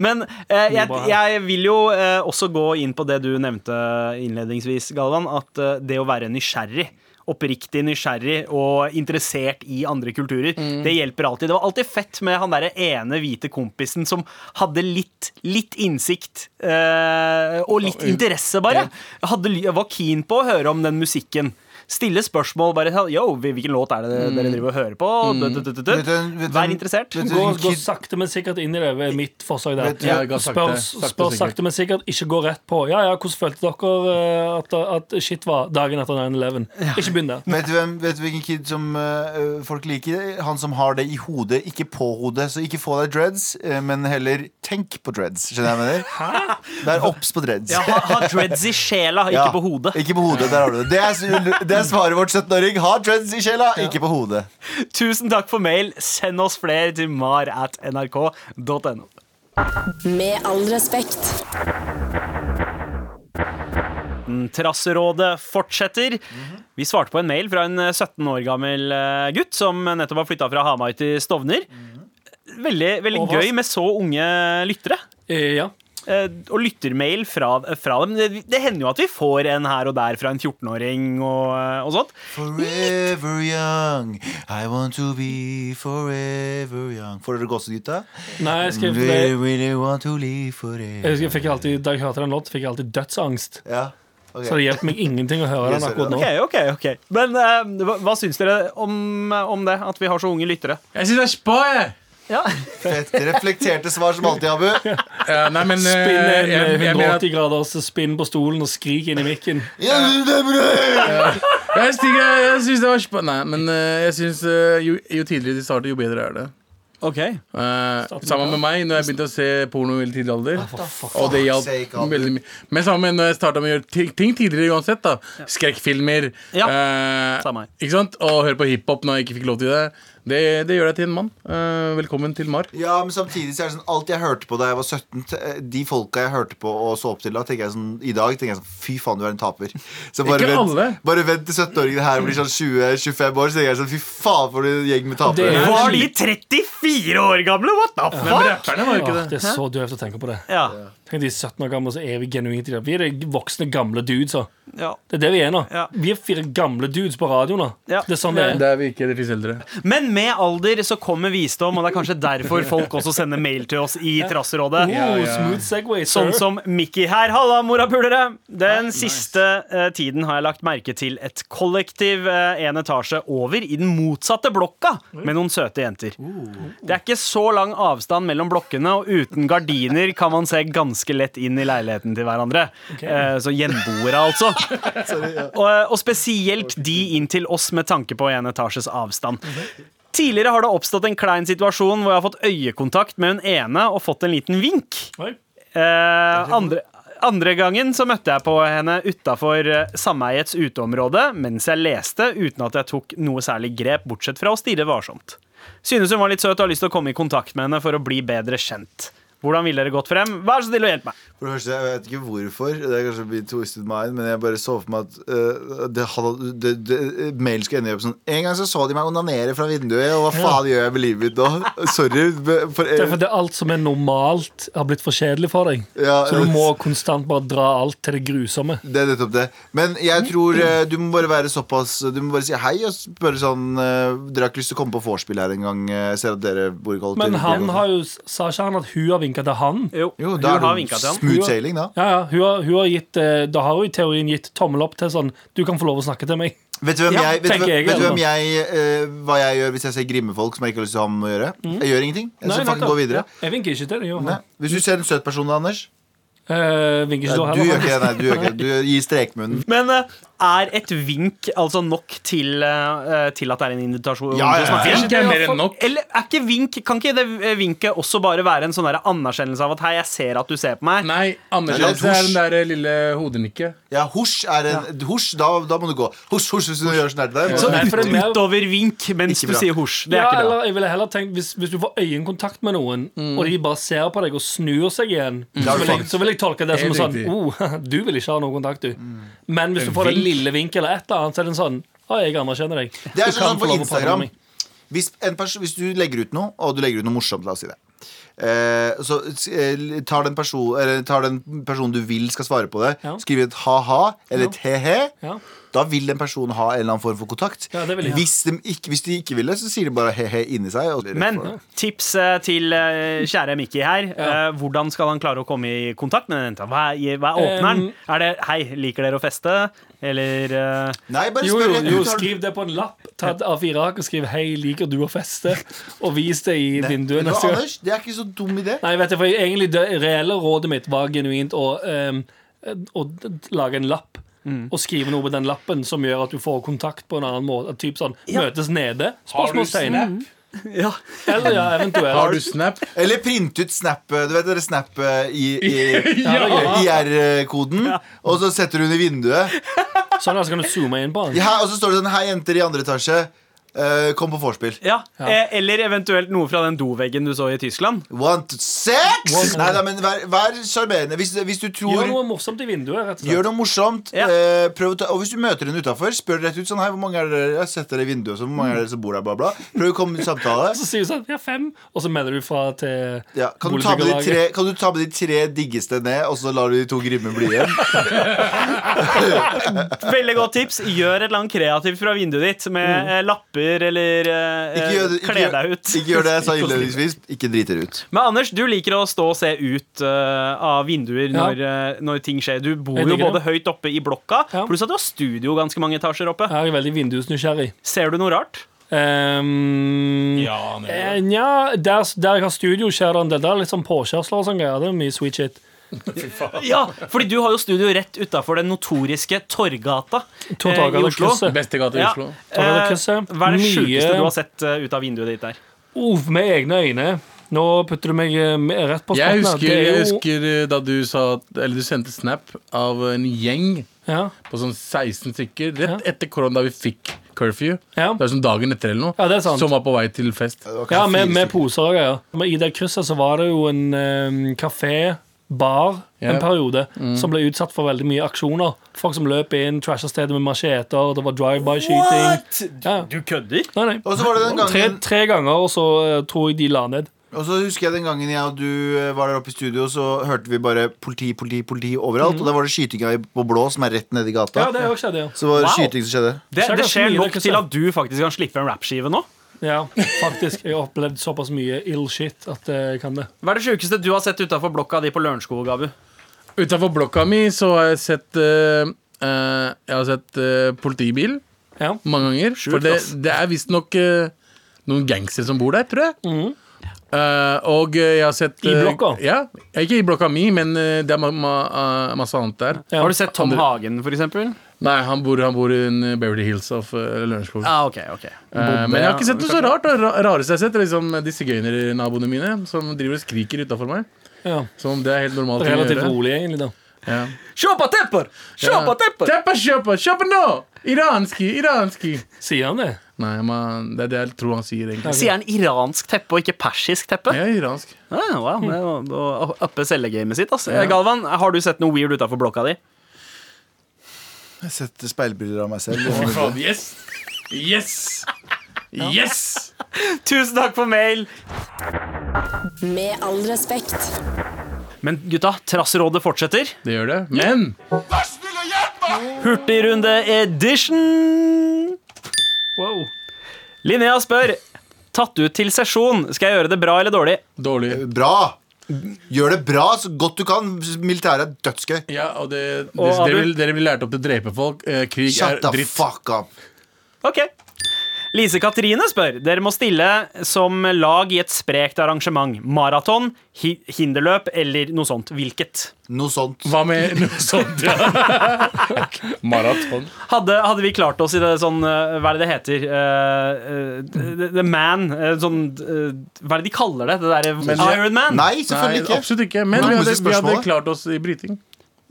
Men eh, jeg, jeg vil jo eh, også gå inn på det du nevnte innledningsvis, Galvan. At eh, det å være nysgjerrig, oppriktig nysgjerrig og interessert i andre kulturer, Mm. det hjelper alltid. Det var alltid fett med han derre ene hvite kompisen som hadde litt, litt innsikt eh, og litt interesse, bare. Hadde, ly- var keen på å høre om den musikken. Stille spørsmål. bare, Yo, hvilken låt er det dere driver og hører på? Død, død, død, død. Mm. Vet du- vet du- Vær interessert. vet du- Gå, en gå kid- sakte, men sikkert inn i det. er mitt forslag der. Vet du- Ja, jeg har sagt Spør, det. Sagt det spør sikkert. sakte, men sikkert. Ikke gå rett på. Ja, ja, hvordan følte dere eh, at, at shit var dagen etter 9-11? Ikke begynn der. (laughs) Vet du, hvem, vet du hvilken kid som øh, folk liker? Han som har det i hodet, ikke på hodet. Så ikke få deg dreads, øh, men heller tenk på dreads. Skjønner du hva jeg mener? Vær obs på dreads. Ja, ha, ha dreads i sjela, ikke (laughs) Ja, på hodet. Ikke på hodet, der har du det. Det er, det er svaret vårt 17-åring. Ha dreads i sjela, ikke på hodet. Tusen takk for mail. Send oss flere til mar at nrk.no. Med all respekt. Mm, Trasserådet fortsetter. Vi svarte på en mail fra en eh, 17 år gammel eh, gutt som nettopp har flytta fra Hamar til Stovner. Veldig, veldig Og hva- gøy med så unge lyttere. Eh, Ja. Eh, Og lyttermail fra, fra dem. Det, det hender jo at vi får en her og der fra en 14-åring og, eh, og sånt. Forever young, I want to be forever young. Får dere gåsehud, gutta? Nei, jeg skrev Really, det. really want to Jeg Eh, live forever. husker jeg fikk alltid, Da jeg hørte den låten, fikk jeg alltid dødsangst. Ja, ok. Så det hjelper meg ingenting å høre den Jeg ser akkurat nå. Ok, ok, ok Men eh, hva, hva syns dere om, om det? At vi har så unge lyttere? Jeg sier det er spa, jeg! Ja Fett reflekterte svar som alltid, (laughs) Abu. Ja, nei, men eh, Spinn jeg, jeg, en eh, jeg, mener at- 180 graders spinn på stolen og skrik inn i mikken. Ja, det er bra! jeg, stikker- jeg syns det var spa Nei, men eh, jeg syns eh, jo, jo tidligere de starter, jo bedre er det. Ok Eh, sammen med meg, når jeg begynte å se porno i veldig tidlig alder. Og det sake, hjalp Abu. veldig mye. Men sammen med når jeg starta med å gjøre ti- ting tidligere uansett. da Skrekkfilmer. Ja, eh, samme her. ikke sant? Og høre på hiphop når jeg ikke fikk lov til det. Det, det gjør deg til en mann. Eh, velkommen til Mar. Ja, men samtidig så er det sånn Alt jeg hørte på da jeg var 17, t- eh, de folka jeg hørte på og så opp til da, tenker jeg sånn I dag tenker jeg sånn Fy faen, du er en taper. Så bare Ikke vent, alle. bare vent til 17-åringene her blir sånn 20-25 år, så tenker jeg sånn Fy faen, for en gjeng med Det tapere. er- Var de 34 år gamle? What the Men fuck? rapperne var jo ikke Åh, det. det er så døvt å tenke på det. Ja, Tenk at de er 17 år gamle, så er vi genuint i det. Vi er de voksne, gamle dudes. så. ja. Det er det vi er nå. Ja. Vi er fire gamle dudes på radio nå. Ja. Det er sånn det er. Der vi ikke, det fins eldre. Men med alder så kommer visdom, og det er kanskje derfor folk også sender mail til oss i Trasserådet. Oh, smooth segway, sir. Sånn som Mickey her. Halla, morapulere! Den siste eh, tiden har jeg lagt merke til et kollektiv eh, en etasje over i den motsatte blokka med noen søte jenter. Det er ikke så lang avstand mellom blokkene, og uten gardiner kan man se ganske lett inn i leiligheten til hverandre. Eh, så gjenboere, altså. og, eh, og spesielt de inn til oss med tanke på en etasjes avstand. Tidligere har det oppstått en klein situasjon hvor jeg har fått øyekontakt med hun ene og fått en liten vink. Oi. Eh, andre, andre gangen så møtte jeg på henne utafor eh, sameiets uteområde mens jeg leste, uten at jeg tok noe særlig grep, bortsett fra å stirre varsomt. Synes hun var litt søt og har lyst til å komme i kontakt med henne for å bli bedre kjent. Hvordan ville dere gått frem? Vær så snill å hjelpe meg. For det første, jeg vet ikke hvorfor, det er kanskje blitt twisted mind, men jeg bare så for meg at eh, det, hadde- det, det, mailen skulle ende opp sånn En gang så så de meg onanere fra vinduet, og hva faen gjør jeg med livet mitt nå? Sorry. be- For, Det er fordi alt som er normalt, har blitt for kjedelig for deg. Ja, Så du må konstant bare dra alt til det grusomme. Det er nettopp det. Men jeg tror eh, du må bare være såpass Du må bare si hei og spørre sånn eh, Dere har ikke lyst til å komme på vorspiel her en gang? eh, Jeg ser at dere bor i kollektiv. Men han har jo, sa ikke han at hun har vinka til han? Jo, hun da har er vinka det til han. smooth sailing, da. Ja, ja, hun har, hun har gitt eh, Da har hun i teorien gitt tommel opp til sånn Du kan få lov å snakke til meg. Vet du hvem Ja, jeg, vet du, tenker hvem, jeg, vet du altså. hvem jeg eh, hva jeg gjør hvis jeg ser grimme folk som jeg ikke har lyst til å ha med å gjøre? Jeg gjør ingenting. Jeg Mm. Nei, skal fucking gå nettopp. videre. Jeg vinker ikke til deg. Johan. Nei. Hvis du ser en søt person, da, Anders Eh, vinker Nei, ikke da Du heller. (laughs) gjør ikke det. Nei, du gjør ikke det. Du gir strekmunnen. Men eh, er et vink altså nok til, eh, til at det er en invitasjon Ja, ja, til å snakke? ja. Vink er mer enn nok. Eller er ikke vink, kan ikke det eh, vinket også bare være en sånn der anerkjennelse av at hei, jeg ser at du ser på meg? Nei, anerkjennelse Nei, det er er den der eh, lille hodenikket. Ja, husj er en Husj, da, da må du gå. Husj, husj, hvis du gjør sånn her til deg. Så- Nei, for det er mer- Utover vink mens Ikke du bra. sier hosj. Det er Ja, ikke bra. eller jeg ville heller tenkt Hvis, hvis du får øyekontakt med noen, og de bare ser på deg og snur seg igjen, så, er vil jeg, fucked. så vil jeg tolke det som en Helt sånn riktig. oh, (laughs) Du vil ikke ha noen kontakt, du. Men hvis du En får en vink. lille vink eller et eller annet, så er det en sånn Å, jeg anerkjenner deg. Det er Du sånn kan som få på lov å prate med Instagram. meg. Hvis, en person, hvis du legger ut noe, og du legger ut noe morsomt, la oss si det. Eh, så eh, tar den, person, eller, tar den personen du vil skal svare på det, Ja. skriver et ha-ha eller et he-he. Ja. Da vil den personen ha en eller annen form for kontakt. Ja, det vil de ha. hvis, de ikke, hvis de ikke vil det, så sier de bare he-he inni seg. Og blir rett Men for det. tips eh, til eh, kjære Mickey her. Eh, Hvordan skal han klare å komme i kontakt med den jenta? Hva er, hva er åpneren? Um, Er det 'hei, liker dere å feste'? Eller eh, Nei, bare Jo, spør jo, rett jo, ut. Har du- skriv det på en lapp. Ta et A4-ark og skriv 'Hei, liker du å (laughs) feste?' Og vis det i vinduet Vet du hva, neste gang. Anders, det er ikke så dum idé. Nei, vet du, for egentlig det reelle rådet mitt var genuint å, ehm, å d- d- lage en lapp. Mm. Og skrive noe på den lappen som gjør at du får kontakt på en annen måte. Typ sånn, Møtes nede? Spørsmålstegn. Ja. Eller ja, eventuelt. Har du snap? Eller print ut snap Du vet dere snap eh, i, i (laughs) Ja. IR-koden, og så setter du den i vinduet. Sånn altså kan du zoome inn på den. Ja, og så står det sånn Hei, jenter i andre etasje. eh, kom på vorspiel. ja. Eh, Eller eventuelt noe fra den doveggen du så i Tyskland. Want sex? Want- Nei da, men vær- vær sjarmerende. Hvis, hvis du tror Gjør noe morsomt i vinduet, rett og Gjør slett. noe morsomt. Ja. eh, prøv å ta, og hvis du møter henne utafor, spør rett ut sånn Hei, hvor mange er dere? Jeg setter dere i vinduet, så hvor mange er dere som bor der? Bla, bla. Prøv å komme i samtale. Så sier du sånn Ja, fem. Og så melder du fra til Ja, kan, du ta med de tre, kan du ta med de tre diggeste ned, og så lar du de to grimme bli (laughs) igjen? Veldig godt tips. Gjør et eller annet kreativt fra vinduet ditt med eh, lapper eller eh, Mm. Ikke gjør, det- ikke, kle gjør, deg ut. ikke gjør det (laughs) jeg sa (laughs) innledningsvis. Ikke drit dere ut. Men Anders, du liker å stå og se ut eh, av vinduer Ja. når, eh, når ting skjer. Du bor Jeg jo digger både høyt oppe i blokka, Ja. pluss at du har studio ganske mange etasjer oppe. Jeg er veldig vindusnysgjerrig. Ser du noe rart? Um, Ja, han er Eh, Nja, der, der jeg har studio, skjer det en del. Der er litt sånn påkjørsler og sånn greier. Det er mye sweet shit. Ja, fordi du har jo studio rett utafor den notoriske Torgata To eh, dager i til Oslo. krysset. Beste gata i Ja. Oslo. Eh, Torgata-krysset. Hva er det Mye- sjukeste du har sett eh, ut av vinduet ditt der? Uff, med egne øyne. Nå putter du meg eh, med- rett på spotten. Jeg her. husker, Det er jeg jo- husker eh, da du sa at- Eller du sendte snap av en gjeng Ja. på sånn 16 stykker Ja. rett etter korona, da vi fikk curfew. Ja. Det er sånn dagen etter eller noe. Ja, det er sant. Som var på vei til fest. Ja, med, med poser og greier. Men I det krysset så var det jo en eh, kafé, bar, en Ja. Mm. periode som ble utsatt for veldig mye aksjoner. Folk som løp inn, trasha stedet med macheter, det var drive-by-skyting. Ja. Du kødder? Nei, nei. Og så var det den Tre, gangen tre ganger, og så eh, tror jeg de la ned. Og så husker jeg den gangen jeg og du eh, var der oppe i studio, så hørte vi bare politi, politi, politi overalt. Og da var det skytinga i- på Blå, som er rett nede i gata. Ja, det har også skjedd, ja. Så var det Wow. skyting som skjedde. Det, Skjer det ganske mye skjer i det nok krysset. til at du faktisk kan slippe en rappskive nå. Ja, faktisk. Jeg har opplevd såpass mye ill shit at eh, jeg kan det. Hva er det sjukeste du har sett utafor blokka di på Lørenskog, Abu? Utafor blokka mi så har jeg sett eh, eh, Jeg har sett eh, politibil Ja. mange ganger. for det, ass. det er visstnok uh, noen gangstere som bor der, tror jeg. Eh, og eh, jeg har sett Mhm. I eh, blokka? Ja, ikke i blokka mi, men eh, det er ma ma eh, masse annet der. Ja. Har du sett Tom Hagen, for eksempel? Nei, han bor, han bor i en Beverly Hills av eh, Lørenskog. Ah, ok, ok Eh, men jeg har ikke sett noe så rart. Det ra- rareste jeg har sett, er liksom disse gøynernaboene mine som driver og skriker utafor meg. ja. Som om det er helt normalt. å Relativt gjøre. rolig, egentlig. da Ja. Kjøpa tepper! Kjøpa tepper! Kjøpe, kjøpe, kjøpe nå! Iranski, iranski. Sier han det? Nei, man, det er det jeg tror han sier, egentlig. Sier han iransk teppe og ikke persisk teppe? Jeg er iransk. Ah, wow, det var- det var å Uppe cellegamet sitt, ass. Eh, Galvan, har du sett noe weird utafor blokka di? Jeg setter speilbilder av meg selv. Yes! Yes! Yes! Tusen takk for mail! Med all respekt. Men gutta, trassrådet fortsetter. Det gjør det. Men Hurtigrunde edition! Wow. Linnea spør Tatt ut til sesjon. Skal jeg gjøre det bra eller dårlig? dårlig. Bra! Gjør det bra så godt du kan. Militæret er dødsgøy. Ja, og det, det, Og Abu? dere, vil, dere blir lært opp til å drepe folk. Eh, Krig Shut er the dritt. fuck up. Ok. Lise Katrine spør Dere må stille som lag i et sprekt arrangement. Maraton, hi hinderløp eller noe sånt. Hvilket? Noe sånt. Hva med noe (laughs) sånt? Ja. Maraton. Hadde, hadde vi klart oss i det sånn eh, Hva er det det heter? Eh, eh, the, the Man. eh, sånn eh, Hva er det de kaller det? Det derre Men- Iron Man? Nei, Nei, selvfølgelig ikke. absolutt ikke. Men Nei, vi men hadde, det vi hadde spørsmålet. klart oss i bryting.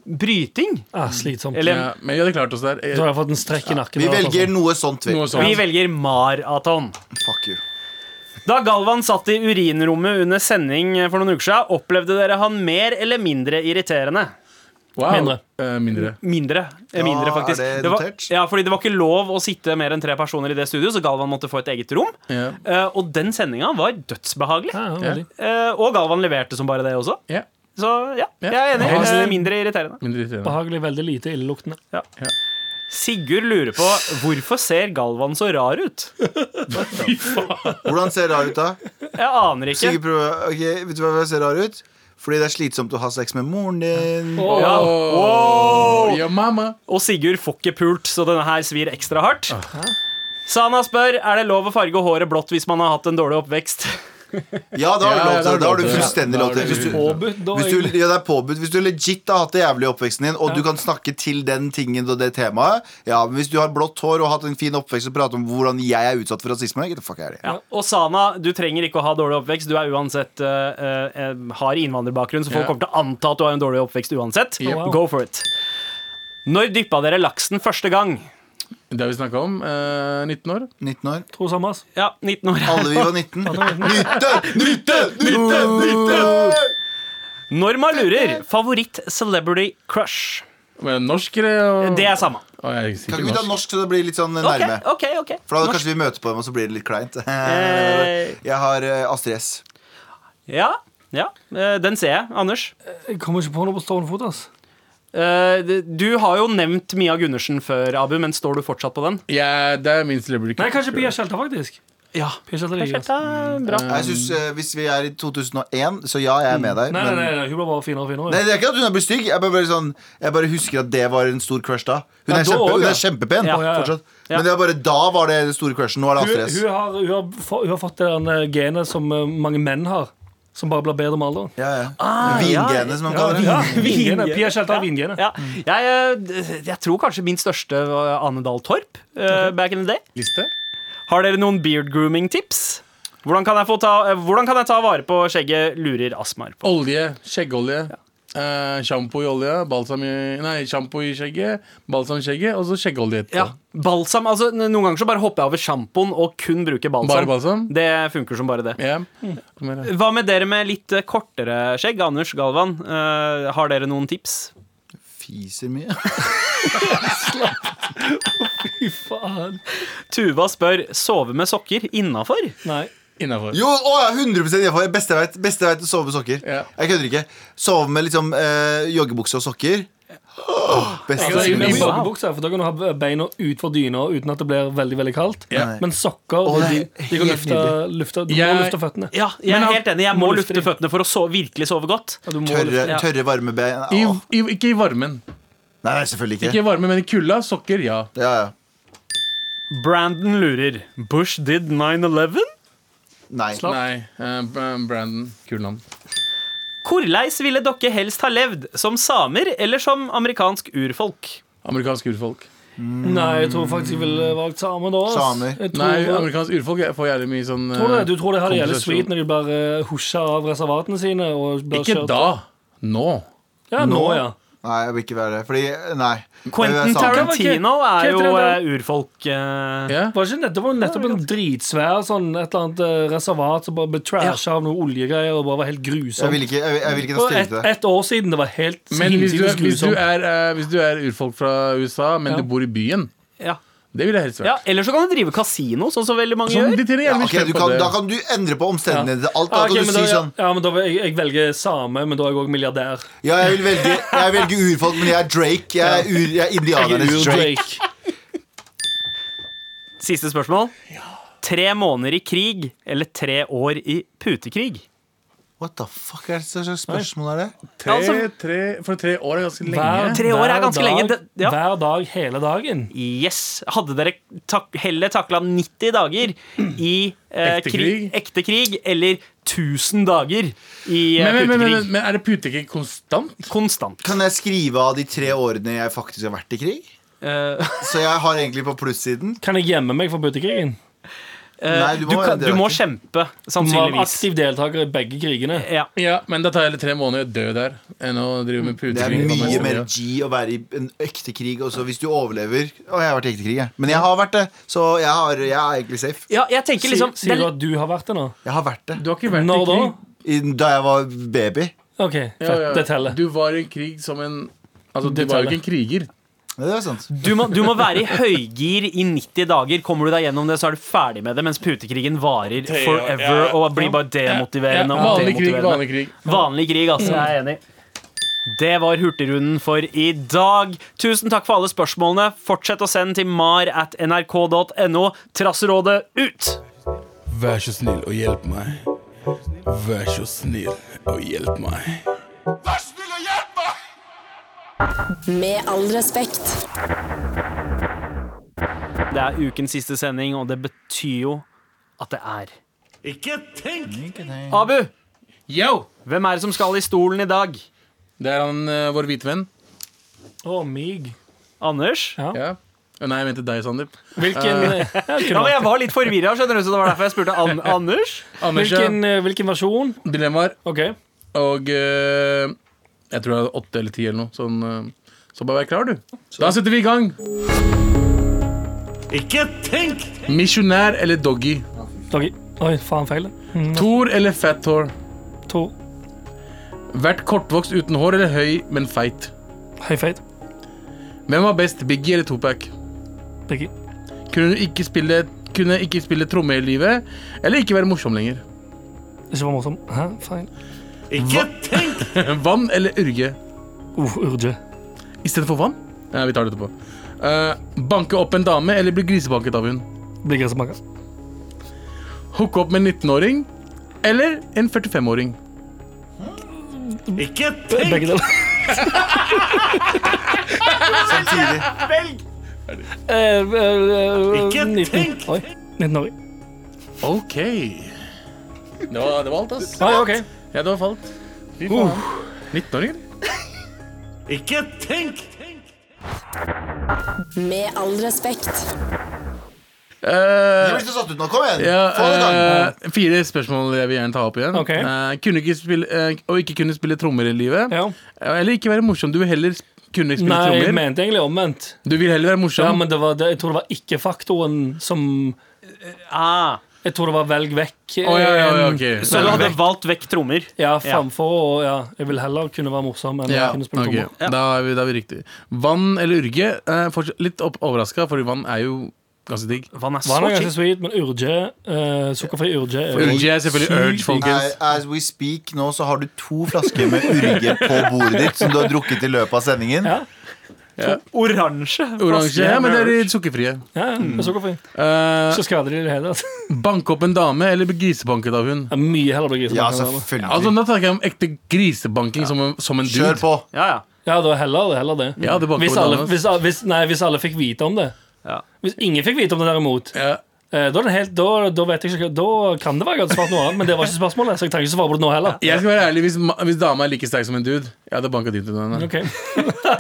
Bryting? Ah, slitsomt. Eller Ja, men vi hadde klart oss der. Eh, Da har jeg fått en strekk i nakken. altså. Vi og alt velger sånt. noe sånt. Vi. Noe sånt. Vi velger maraton. Fuck you. Da Galvan satt i urinrommet under sending for noen uker siden, opplevde dere han mer eller mindre irriterende? Wow. Mindre. Eh, mindre. Mindre. eh, Ja, mindre faktisk. er det var, notert? ja, fordi det var ikke lov å sitte mer enn tre personer i det studioet, så Galvan måtte få et eget rom. Ja. Eh, og den sendinga var dødsbehagelig. Ja, ja, veldig. Eh, og Galvan leverte som bare det også. Ja. Så ja, Ja. jeg er enig. Ja. Eh, mindre irriterende. Mindre irriterende. Behagelig, veldig lite illeluktende. Sigurd lurer på hvorfor ser Galvan så rar ut? Hvordan ser det rar ut, da? Jeg aner ikke. Sigurd, prøv- ok, vet du hva jeg ser rar ut? Fordi det er slitsomt å ha sex med moren din. Ja. Oh, your mama. Og Sigurd får ikke pult, så denne her svir ekstra hardt. Sana spør er det lov å farge håret blått hvis man har hatt en dårlig oppvekst. Ja, da har du Ja, lov ja, til det. Da har du det. fullstendig Ja, lov til da det. har Hvis du- du, Påbudt, da. hvis du, egentlig. ja, det er påbudt. Hvis du legit har hatt det jævlig i oppveksten din, og du kan snakke til den tingen og det temaet Ja, men Hvis du har blått hår og hatt en fin oppvekst og prater om hvordan jeg er utsatt for rasisme get the fuck out of here. Ja. Og Sana, du trenger ikke å ha dårlig oppvekst. Du er uansett eh, eh, har innvandrerbakgrunn, så folk Ja. kommer til å anta at du har en dårlig oppvekst uansett. Yep. Go for it. Når dyppa dere laksen første gang? Det har vi snakka om. eh, 19 år. 19 år. Tro samme, ass. Ja, 19 år. Alle vi var 19. Nytte! Nytte! Nytte! Nytte! Norma lurer. Favoritt-celebrity crush. Men norsk, eller? Det er samme. Å, jeg er Kan sikkert ikke vi ta norsk. norsk så det blir litt sånn Ok, nærme? ok, ok For da Norsk. kanskje vi møter på dem, og så blir det litt kleint. (laughs) Eh. Jeg har eh, Astrid S. Ja, ja. eh, den ser jeg. Anders? Jeg kommer ikke på noe på stående fot, ass. Eh, det- Du har jo nevnt Mia Gundersen før, Abu, men står du fortsatt på den? Ja, det er min celebrity. Nei, kanskje Pia Skjelta, faktisk. Ja. Pia Skjelta liker jeg, ass. Bra. Jeg synes, eh, Hvis vi er i 2001, så ja, jeg er med deg. Nei, nei, men- nei, nei, hun blir bare finere og finere. Nei, Det er ikke at hun er blitt stygg. Jeg bare, bare, sånn, jeg bare husker at det var en stor crush da. Ja, Hun er, da kjempe, også, hun ja. er kjempepen Ja, ja, ja. fortsatt. Ja. Men det er bare da var det den store crushen. Nå er det Hun, Astrid S. hun, har, hun, har, få- hun har fått det der eh, genet som eh, mange menn har, som bare blir bedre med (laughs) alderen. Ja, ja. Vingenet, som de kaller det. Ah, Ja, vingenet. Pia Skjelta har vingenet. Ja. Jeg, eh, jeg tror kanskje min største var Ane Dahl Torp. eh, Back in the day. Liste? Har dere noen beard grooming-tips? Hvordan kan, jeg få ta, eh, hvordan kan jeg ta vare på skjegget, lurer Asmar på? Olje. Skjeggolje. Eh, Sjampo i olje, balsam i Nei, sjampo i skjegget, balsam i skjegget, og så skjeggolje etterpå. Ja, balsam, altså n- Noen ganger så bare hopper jeg over sjampoen og kun bruker balsam. Bare balsam? Det funker som bare det. Ja. Kom her, da. Hva med dere med litt eh, kortere skjegg? Anders Galvan, eh, har dere noen tips? Fiser mye. (laughs) Fy faen. Tuva spør sove med sokker innafor. Nei. Innafor. Jo, å, ja, 100 innenfor. Beste jeg vet. Beste jeg vet å sove med sokker. Ja. Jeg kødder ikke. Sove med liksom eh, joggebukse og sokker. Åh, beste Altså, jeg sokker. vil Wow. joggebukse, for Da kan du ha beina utfor dyna uten at det blir veldig veldig kaldt. Ja. Men sokker Å, de, det er de kan helt lufte, lufte, Du Jeg- må lufte føttene. Ja, jeg Men er han- helt enig. Jeg må må lufte lufte de. føttene for å so virkelig sove godt. Ja, du må Tørre, lufte. ja. tørre varme ben. I, Åh. i, ikke i varmen. Nei, nei, selvfølgelig Ikke ikke. i varmen, men i kulda. Sokker, ja. Ja, ja. Brandon lurer. Bush did 9-11? Nei. Slapp. Nei, eh, Bra- Brandon. Kul navn. Hvorleis ville dere helst ha levd? Som samer eller som amerikansk urfolk? Amerikansk urfolk. Nei, jeg tror faktisk jeg ville valgt same da. ass. Samer. Jeg tror, Nei, amerikansk urfolk jeg får jævlig mye sånn tror du, eh, det? du tror det her det gjelder kompensasjon. sweet når de blir eh, husja av reservatene sine? Og blir Ikke kjørt. da. Nå. Ja, nå, ja. Nei, jeg vil ikke være det. Fordi, nei. Jeg Quentin vil være samer. Tarantino Hva er heter jo det da? eh, urfolk. eh. Ja? Var det, ikke nettopp, det var nettopp en dritsvær sånn, et eller annet eh, reservat som bare ble trasha av noen oljegreier og bare var helt Jeg grusomt. vil ikke, jeg vil, jeg vil ikke ta For stilling ett til det. et år siden det var helt Men hvis du, hinsides er, hvis, du grusomt. er, eh, hvis du er urfolk fra USA, men Ja. du bor i byen, Ja. det ville jeg helst ja, vært. Eller så kan du drive kasino, sånn som veldig mange Sånn, gjør. de tjener Ja, jævlig mye ok, penger du på kan, det. da kan du endre på omstendighetene til alt. Da Ja, Ah, ok, men kan da, du si ja, sånn ja, men da vil jeg, jeg velger same, men da er jeg òg milliardær. Ja, jeg, vil velge, jeg velger urfolk, men jeg er Drake. Jeg er, ur, jeg er indianernes Ur Drake. Drake. Siste spørsmål. Tre måneder i krig eller tre år i putekrig? What the fuck er det hva slags spørsmål er det? Tre, altså- tre, for tre år er ganske Hver- lenge. Tre år er hver ganske dag- lenge, det- ja. Hver dag, hele dagen. Yes. Hadde dere tak heller takla 90 dager i eh, Ekte krig, krig? ekte krig eller 1000 dager i eh, Men, men, men, men, putekrig? men er det putekrig konstant? Konstant. Kan jeg skrive av de tre årene jeg faktisk har vært i krig? Eh, Så jeg har egentlig på plussiden. Kan jeg gjemme meg for putekrigen? eh, Nei, du du, må- kan, det er du må ikke- kjempe, Var sannsynligvis. aktiv deltaker i begge krigene. Ja. Ja, men da tar jeg litt tre måneder å dø der enn å drive med Det er putekrig. mye mer G å være i en ekte krig. Og så hvis du overlever Å, jeg har vært i ekte krig, jeg. Men jeg har vært det, så jeg, har, jeg er egentlig safe. ja, jeg tenker Si- liksom Sier det du er- at du har vært det nå? Jeg har vært det Du har ikke vært Når i da? krig. I, da jeg var baby. OK, Ja, ja. fett. Det teller. Du var i krig som en Altså, du Det var jo teller. ikke en kriger. Ja, Det er sant. du, må, du må være i høygir i 90 dager. Kommer du deg gjennom det, så er du ferdig med det, mens putekrigen varer forever og blir bare demotiverende. Ja, og vanlig krig, Mm. demotiverende. vanlig krig. Vanlig krig, altså. Jeg er enig. Det var Hurtigrunden for i dag. Tusen takk for alle spørsmålene. Fortsett å sende til mar at nrk.no. Trasserådet ut! Vær så snill og hjelp meg. Vær så snill og hjelp meg. Med all respekt. Det er ukens siste sending, og det betyr jo at det er Abu, Yo! hvem er det som skal i stolen i dag? Det er han eh, vår hvite venn. Å, mig. Anders? Ja. Å, Nei, jeg mente deg, Sandeep. Hvilken, eh, Eh. ja, Ja, kunne men vært. Jeg var litt forvirra, skjønner du, så det var derfor jeg spurte An Anders. Anders, hvilken, eh, hvilken versjon? ja. Dilemmaer. OK. Og eh, jeg tror det er åtte eller ti eller noe. Sånn, eh, så bare vær klar, du. Da setter vi i gang. Ikke tenk! Misjonær eller doggy? Doggy. Oi, faen, feil. Mm, Thor eller fat Thor? To. Vært kortvokst uten hår eller høy, men feit? Høyfeit. Hvem var best, Biggie eller Tupac? Biggie. Kunne du ikke spille, kunne ikke spille tromme i livet, eller ikke være morsom lenger? (laughs) Ikke var morsom. Hæ, feil. Vann eller urge? Uh, urge. Istedenfor vann? Nei, vi tar det etterpå. Eh, banke opp en dame eller bli grisebanket av hun? Blir gressmaker. Hooke opp med en 19-åring eller en 45-åring? Begge (laughs) deler. Samtidig. Eh, Ikke 19. Oi. 19 år. OK. Det var, det var alt, ass. Oi, OK. Ja, det var falt. Fy faen. 19-åringer? Med all respekt. Eh, Jeg blir så satt ut nå. Kom igjen! Ja, Få det i gang. eh, fire spørsmål jeg vil gjerne ta opp igjen. Ok. Eh, kunne ikke spille, eh, å ikke kunne spille trommer i livet. Ja. Eh, Eller ikke være morsom. Du vil heller sp- kunne spille Nei, jeg trommer. mente egentlig omvendt. Du vil heller være morsom. Ja, men det var, det, jeg tror det var ikke-faktoren som Ah, Jeg tror det var velg vekk. Å, ja, ja, ja, en- ok. så du hadde valgt vekk trommer? Ja, framfor og ja, jeg vil heller kunne være morsom enn Ja, å kunne spille ok. trommer. Da, er vi, da er vi riktig. Vann eller urge? Eh, fortsatt litt opp overraska, for vann er jo ganske digg. Vann er så Vann er ganske chill. sweet, men urge, eh, sukkerfri urge er jo- Urge er selvfølgelig urge, As, folkens. as we speak nå, så har du to flasker med urge på bordet ditt som du har drukket i løpet av sendingen. Ja. Oransje. Oransje. flaske Ja, men det er med de sukkerfrie. Ja, det er sukkerfri. Eh, Så skader de det hele. Altså. banke opp en dame eller bli grisebanket av hun? Det er mye heller å bli grisebank. Ja, enn det. Altså, selvfølgelig. Da snakker jeg om ekte grisebanking som, en- som en dude. Kjør på. Ja, ja. Ja, det var heller, heller det. Ja, det banker hvis, på alle, damen. hvis, ah, hvis, nei, hvis alle fikk vite om det. Ja. Hvis ingen fikk vite om det, derimot, Ja. eh, da, er det helt, da, da vet jeg ikke Da kan det være jeg hadde svart noe annet, men det var ikke spørsmålet. Så jeg trenger ikke svare på det nå heller. Jeg skal være ærlig, Hvis, ma- hvis dama er like sterk som en dude Jeg hadde banka dypt under henne. Ok.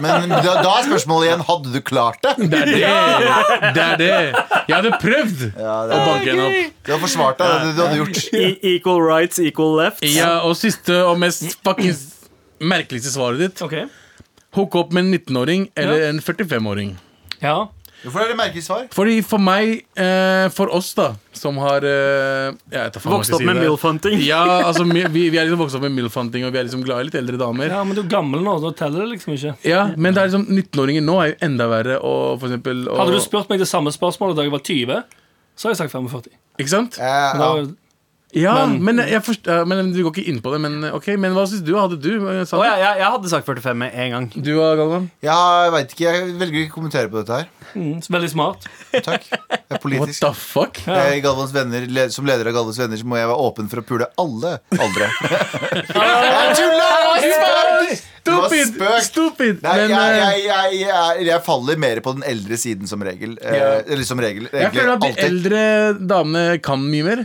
Men da, da er spørsmålet igjen hadde du klart det. Det er det! Det er det! Jeg hadde prøvd å banke henne opp. Du har forsvart deg. Det, er det du hadde gjort. I equal rights, equal left. Ja, Og siste og mest fuckings merkeligste svaret ditt. Ok. Hooke opp med en 19-åring eller en 45-åring. Ja. Hvorfor er det merkelig svar? Fordi for meg, eh, for oss da, som har eh, jeg vet da faen hva jeg Vokst skal opp si med det. milf-hunting. (laughs) Ja, altså, mi- vi, vi er liksom vokst opp med milf-hunting, og vi er liksom glad i litt eldre damer. ja, men du er gammel nå, da teller det liksom ikke. Ja, Men det er liksom 19-åringer nå er jo enda verre. Og for eksempel, og, Hadde du spurt meg det samme spørsmålet da jeg var 20, så hadde jeg sagt 45. Ikke sant? Eh, Men da, ja. Ja, men, jeg forst- ja, men du går ikke inn på det. Men ok, men hva syns du? Hadde du eh, Å, sa ja, jeg, jeg hadde sagt 45 med en gang. Du og Galvan? Ja, jeg veit ikke. Jeg velger ikke å kommentere på dette her. mm, Veldig smart. Takk. Jeg er What politisk. the fuck? Jeg er Galvans venner, le- som leder av Galvans venner så må jeg være åpen for å pule alle aldre. Jeg tuller! Det var Stupid! spøk. Stupid! Nei, Men jeg, eh, jeg, jeg, jeg, jeg faller mer på den eldre siden som regel. Eh, eller som regel jeg egentlig, føler at de alltid. eldre damene kan mye mer.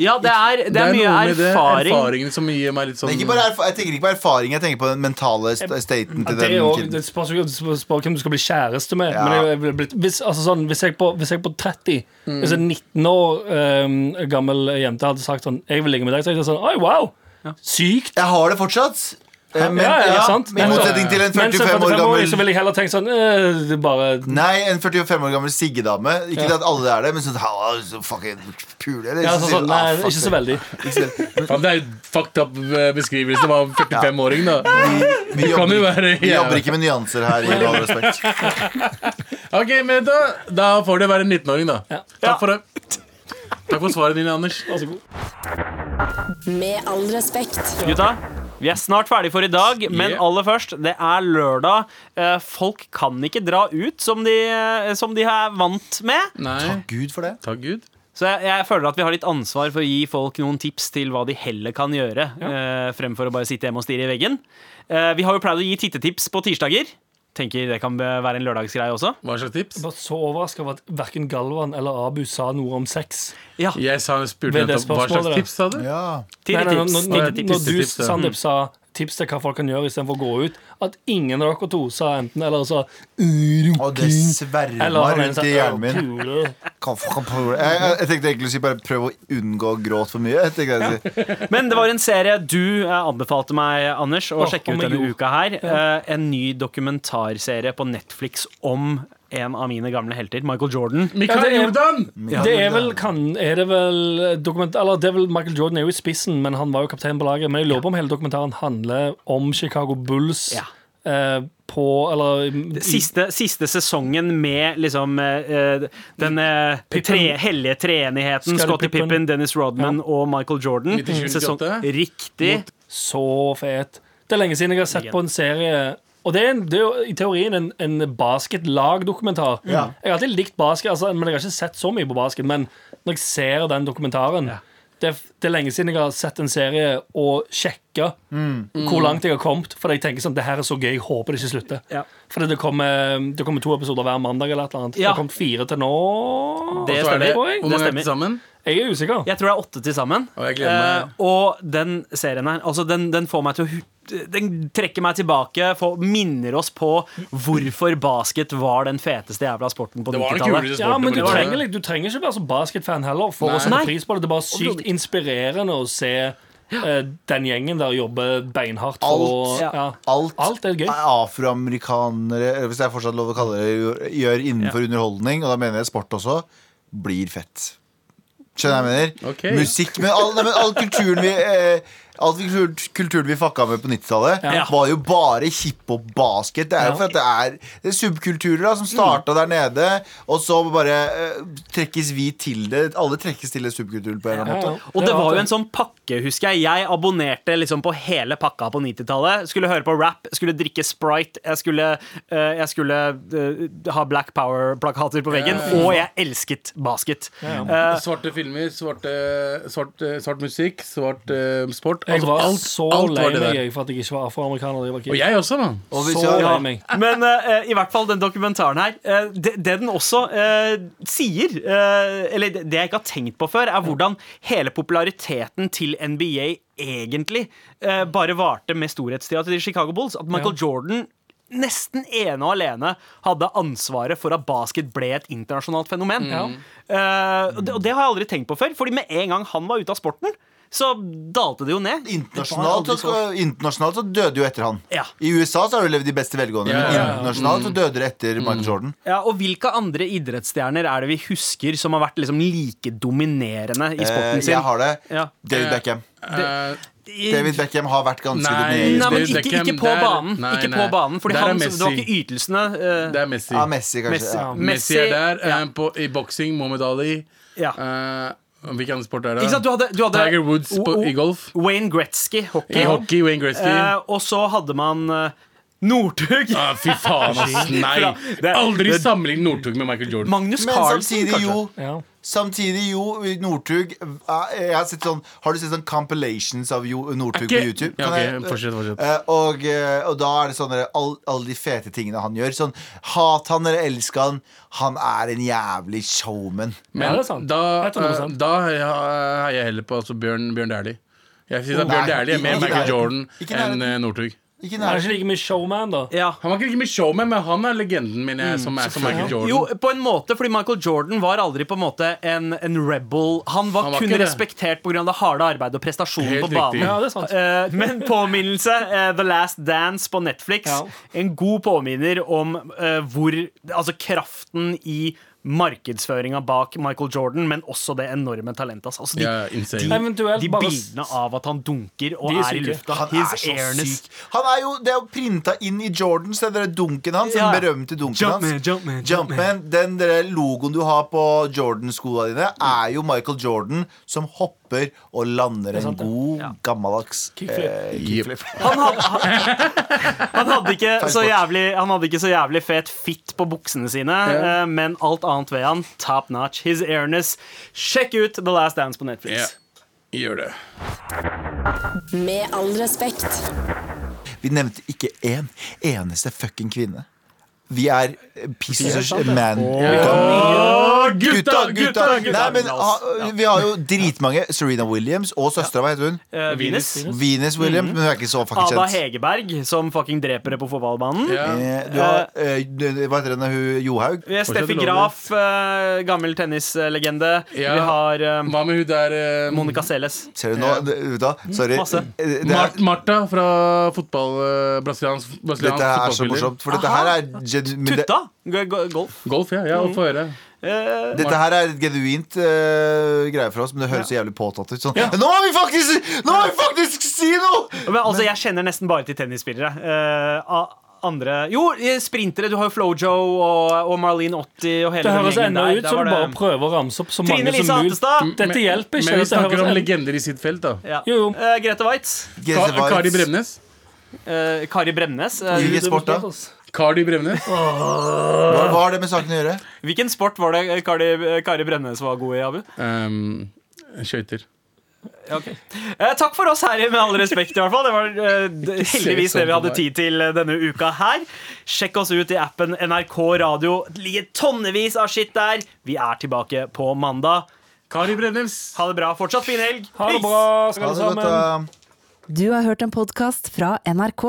Ja, det er, det er mye noe med det erfaring. erfaringen som gir meg litt Det sånn er ikke bare erfa- jeg tenker ikke på erfaring, jeg tenker på den mentale st- staten Ja, til det er den jo, kiden. det spørs jo det spørs hvem du skal bli kjæreste med. Ja. Men jeg, jeg, ville blitt- hvis, altså sånn, hvis, jeg på, hvis jeg på 30, Mm. hvis en 19 år ehm, gammel jente hadde sagt sånn Jeg vil ligge med deg, så hadde jeg sagt sånn Oi, wow! Sykt! Jeg har det fortsatt. eh, Men, ja, ja, ja, sant. I motsetning til en Men som 45 år 45-åring så gammel ville jeg heller tenkt sånn eh, det er bare Nei, en 45 år gammel siggedame. Ikke at alle det er det, men sånn «Ha, så fucking pule, eller? ja, sånn, Så sier sånn, du, Nei, «Ah, fuck ikke så det». veldig. Faen, Det er jo fucked up eh, beskrivelse av en 45-åring, (laughs) da. Vi jobber, kan ikke- jo være- vi ja. jobber ikke med nyanser her. I all respekt Ok, men da, da får det være en 19-åring, da. Ja. Takk for det. Takk for svaret dine, Anders. Vær så god. Med all respekt. Gutta, vi er snart ferdig for i dag, men Yeah. aller først, det er lørdag. Eh, Folk kan ikke dra ut som de, eh, som de er vant med. Nei. Gud for det. Takk Gud. Så jeg, jeg føler at vi har litt ansvar for å gi folk noen tips til hva de heller kan gjøre, eh, fremfor å bare sitte hjemme og stirre i veggen. Eh, Vi har jo pleid å gi tittetips på tirsdager. Tenker det kan være en lørdagsgreie også. Hva slags tips? Jeg var så overraska over at verken Galvan eller Abu sa noe om sex. Ja, Jeg sa, spurte Ved det nettopp hva slags spørsmålet, da. tips, sa du? Ja. Nei, nei, når, når, tittetips. Tittetips. når du, Tittetips, ja. Sandeep, sa tips til hva folk kan gjøre istedenfor å gå ut, at ingen av dere to sa enten eller sa «Øh, Og det svermer han rundt sa, i «Å, hjernen min. kule». Kan- kan- kan- Jeg, jeg, jeg tenkte egentlig å si bare prøv å unngå å gråte for mye. Jeg tenkte jeg å si. Men det var en serie du eh, anbefalte meg, Anders, å Åh, sjekke om ut denne jord. uka her. Eh, En ny dokumentarserie på Netflix om en av mine gamle helter, Michael Jordan. Mikael Ja, det er- Jordan! Det er vel, kan, er det vel dokument, eller det er vel Michael Jordan er jo i spissen, men han var jo kaptein på laget. Men jeg lurer på om hele dokumentaren handler om Chicago Bulls Ja. eh, på Eller i- Siste, siste sesongen med liksom eh, eh, den eh, tre, hellige treenigheten. Scottie Scottie Pippen. Pippen, Dennis Rodman og Michael Jordan. 97, Sesong- 98. Riktig. Så fet. Det er lenge siden jeg har sett på en serie Og det er, en, det er jo i teorien en, en basketlagdokumentar. Ja. Jeg har alltid likt basket, altså, men jeg har ikke sett så mye på basket. Men når jeg ser den dokumentaren det, er f- det er lenge siden jeg har sett en serie og sjekka hvor langt jeg har kommet. For jeg tenker sånn, det her er så gøy, jeg håper det ikke slutter. Ja. For det kommer, det kommer to episoder hver mandag. eller et eller annet Ja. Det har kommet fire til nå. Det Så er stemmer. det, tror jeg. hvor mange er Det det til sammen? Jeg er usikker. Jeg tror det er åtte til sammen. Å, jeg gleder meg. Eh, og den serien her, altså den, den får meg til å hu- Den trekker meg tilbake, får, minner oss på hvorfor basket var den feteste jævla sporten på Det var den 90-tallet. kuleste sporten. Ja, men du på trenger, nettet. litt- du trenger ikke være så basketfan heller for å sette Nei. pris på det. Det er bare sykt Overhodet ikke. inspirerende å se eh, den gjengen der jobbe beinhardt. for- Alt. ja. Alt, Alt er gøy. afroamerikanere, eller hvis det er fortsatt lov å kalle det, gjør- gjør innenfor underholdning, og da mener jeg sport også, blir fett. Skjønner jeg hva jeg mener? Ok. Musikk men all, nei, men all kulturen vi eh, All kultur, kulturen vi fucka med på 90-tallet, Ja. var jo bare hiphop basket. Det er jo Ja. for at det er, det er subkulturer da, som starta der nede, og så bare eh, trekkes vi til det. Alle trekkes til en subkultur på en eller annen måte. Og det var jo en sånn sånn pakke, husker jeg. Jeg abonnerte liksom på hele pakka på 90-tallet. Skulle høre på rap, skulle drikke Sprite, jeg skulle, eh, jeg skulle eh, ha Black Power-plakater på veggen. Ja, ja, ja. Og jeg elsket basket. Eh, Svarte filmer, svarte, svart, eh, svart musikk, svart eh, sport. Jeg Altså, var alt, så alt lei var det meg der. jeg, for at jeg ikke var afroamerikaner. da jeg var kid. Og jeg også, mann. Og hvis Så jeg- lei meg. Men eh, i hvert fall den dokumentaren her eh, det, det den også eh, sier, eh, eller det jeg ikke har tenkt på før, er hvordan hele populariteten til NBA egentlig eh, bare varte med storhetstida til Chicago Bulls. At Michael Jordan nesten ene og alene hadde ansvaret for at basket ble et internasjonalt fenomen. Eh, og, det, og det har jeg aldri tenkt på før, Fordi med en gang han var ute av sporten, så dalte det jo ned. Internasjonalt så, skal- internasjonalt så døde jo etter han. Ja. I USA så har du levd i beste velgående, Ja, ja, ja. men internasjonalt så døde det etter Michael Jordan. Ja, og Hvilke andre idrettsstjerner er det vi husker som har vært liksom like dominerende i Eh, sporten sin? jeg har det. Ja. David Beckham. Eh, David Beckham har vært ganske Nei, Nei, dominerende. men David ikke, Beckham, ikke på der- banen. nei, ikke nei. på banen Fordi Der er han, det var Messi. ikke ytelsene. eh, det er Messi. Ja, Messi, kanskje. Messi. Ja. Messi er der. eh, på, I boksing, Muhammad Ali. ja. Eh, Hvilken sport er det? Ikke sant, du hadde, du hadde Tiger Woods på, O- o- i golf. Wayne Gretzky, hockey. I hockey, Wayne Gretzky. Eh, og så hadde man eh, Northug. ah, fy faen, ass. Nei. Det- Aldri det- sammenlign Northug med Michael Jordan. Magnus Men Carlsen, samtidig kanskje. jo Ja. Samtidig jo, Northug eh, Jeg har sett sånn Har du sett sånn compilations av jo- Northug på Ikke- YouTube? Ja, Kan ok, jeg- fortsett, fortsett. Eh, Og, eh, og da er det sånn der, all, alle de fete tingene han gjør. Sånn hat han eller elsk han, han er en jævlig showman. Ja, Men det er sant. da, Det er 100%. eh, da heier jeg heller på altså, Bjørn, Bjørn Dæhlie. Jeg synes at Nei, Bjørn Dæhlie er ikke- mer ikke Michael nærheten. Jordan Ikke nærheten. enn eh, Northug. Ikke Han er nær. ikke like mye showman, da. Ja. Han var ikke like mye showman, men han er legenden min. Jeg, som er som Michael Jordan. Jo, på en måte, fordi Michael Jordan var aldri på en måte en, en rebel. Han var, Han var kun ikke det. respektert pga. det harde arbeidet og prestasjonen Helt på banen. riktig. Ja, det er sant. Eh, men påminnelse, eh, The Last Dance på Netflix, Ja. en god påminner om eh, hvor Altså kraften i markedsføringa bak Michael Jordan, men også det enorme talentet hans. Altså, de, Ja, insane. Eventuelt de bare bildene av at han dunker og De er er, i syke. lufta. Han His er så airness. syk. Han er jo, det er jo printa inn i Jordan, så det er dunken hans. Ja. Den berømte dunken Jumpman, hans. Jumpman, Jumpman, Den der logoen du har på Jordan-skoene dine, er jo Michael Jordan som hopper og lander en god, gammeldags Kickflip. eh, Yep. Han hadde, han, han, hadde ikke så for det. jævlig, han hadde ikke så jævlig fet fitt på buksene sine, eh, men alt annet ved han, top notch. His airness. Sjekk ut The Last Dance på Netflix. Ja. Gjør det. Med all respekt. Vi nevnte ikke én eneste fucking kvinne. Vi er eh, pieces of man. Gutta, gutta, gutta! Nei, men ha, Vi har jo dritmange. Serena Williams og søstera, hva heter hun? Eh, Venus. Venus Williams, men hun er ikke så fucking Mhm. Ada kjent. Hegerberg, som fucking dreper det på fotballbanen. Ja. Eh, Du har, eh, hva heter henne, hun Johaug? Vi har Steffi Fortsetter Graf, eh, gammel tennislegende. Ja. Vi har eh, Hva med hun der eh, Monica Seles. Ser du nå? Ja. Det- Vet du hva? Sorry. Masse. Eh, Det er, Mar Martha fra fotball, eh, brasiliansk, brasiliansk dette er så fotballspiller. morsomt, for dette her er genu- men det- Tutta. Go- go- Golf. Golf, ja. ja Få høre. Eh, Dette her er et genuint eh, greie for oss, men det høres så jævlig påtatt ut. Sånn. Nå, må vi faktisk, nå må vi faktisk si noe! Men altså, jeg kjenner nesten bare til tennisspillere. Eh, a- andre Jo, eh, sprintere. Du har jo Flojo og, og Marlene Otti og hele Det den høres gjengen ennå der. ut Der som var du det- bare prøver å ramse opp så Trine mange Lise som mulig. Hattestad. Dette hjelper ikke. Mm. Men vi dette høres snakker om ennå- legender i sitt felt, da. Ja. Jo, jo. Eh, Grete Waitz. Ka Grete Waitz. Kari Bremnes. eh, Kari Bremnes. eh, Hvilken sport da? Cardi Bremnes. Hva hva har det med saken å gjøre? hvilken sport var det eh, Kari, eh, Kari Bremnes var god i, Abu? Um, Skøyter. Eh, takk for oss her, i med all respekt, i hvert fall. Det var eh, d- se heldigvis sånn det vi på hadde meg. tid til eh, denne uka her. Sjekk oss ut i appen NRK Radio. Det ligger tonnevis av skitt der. Vi er tilbake på mandag. Kari Bremnes. Ha det bra. Fortsatt fin helg. Ha det Peace! bra, Ha alle det godt, sammen. da. Du har hørt en podkast fra NRK.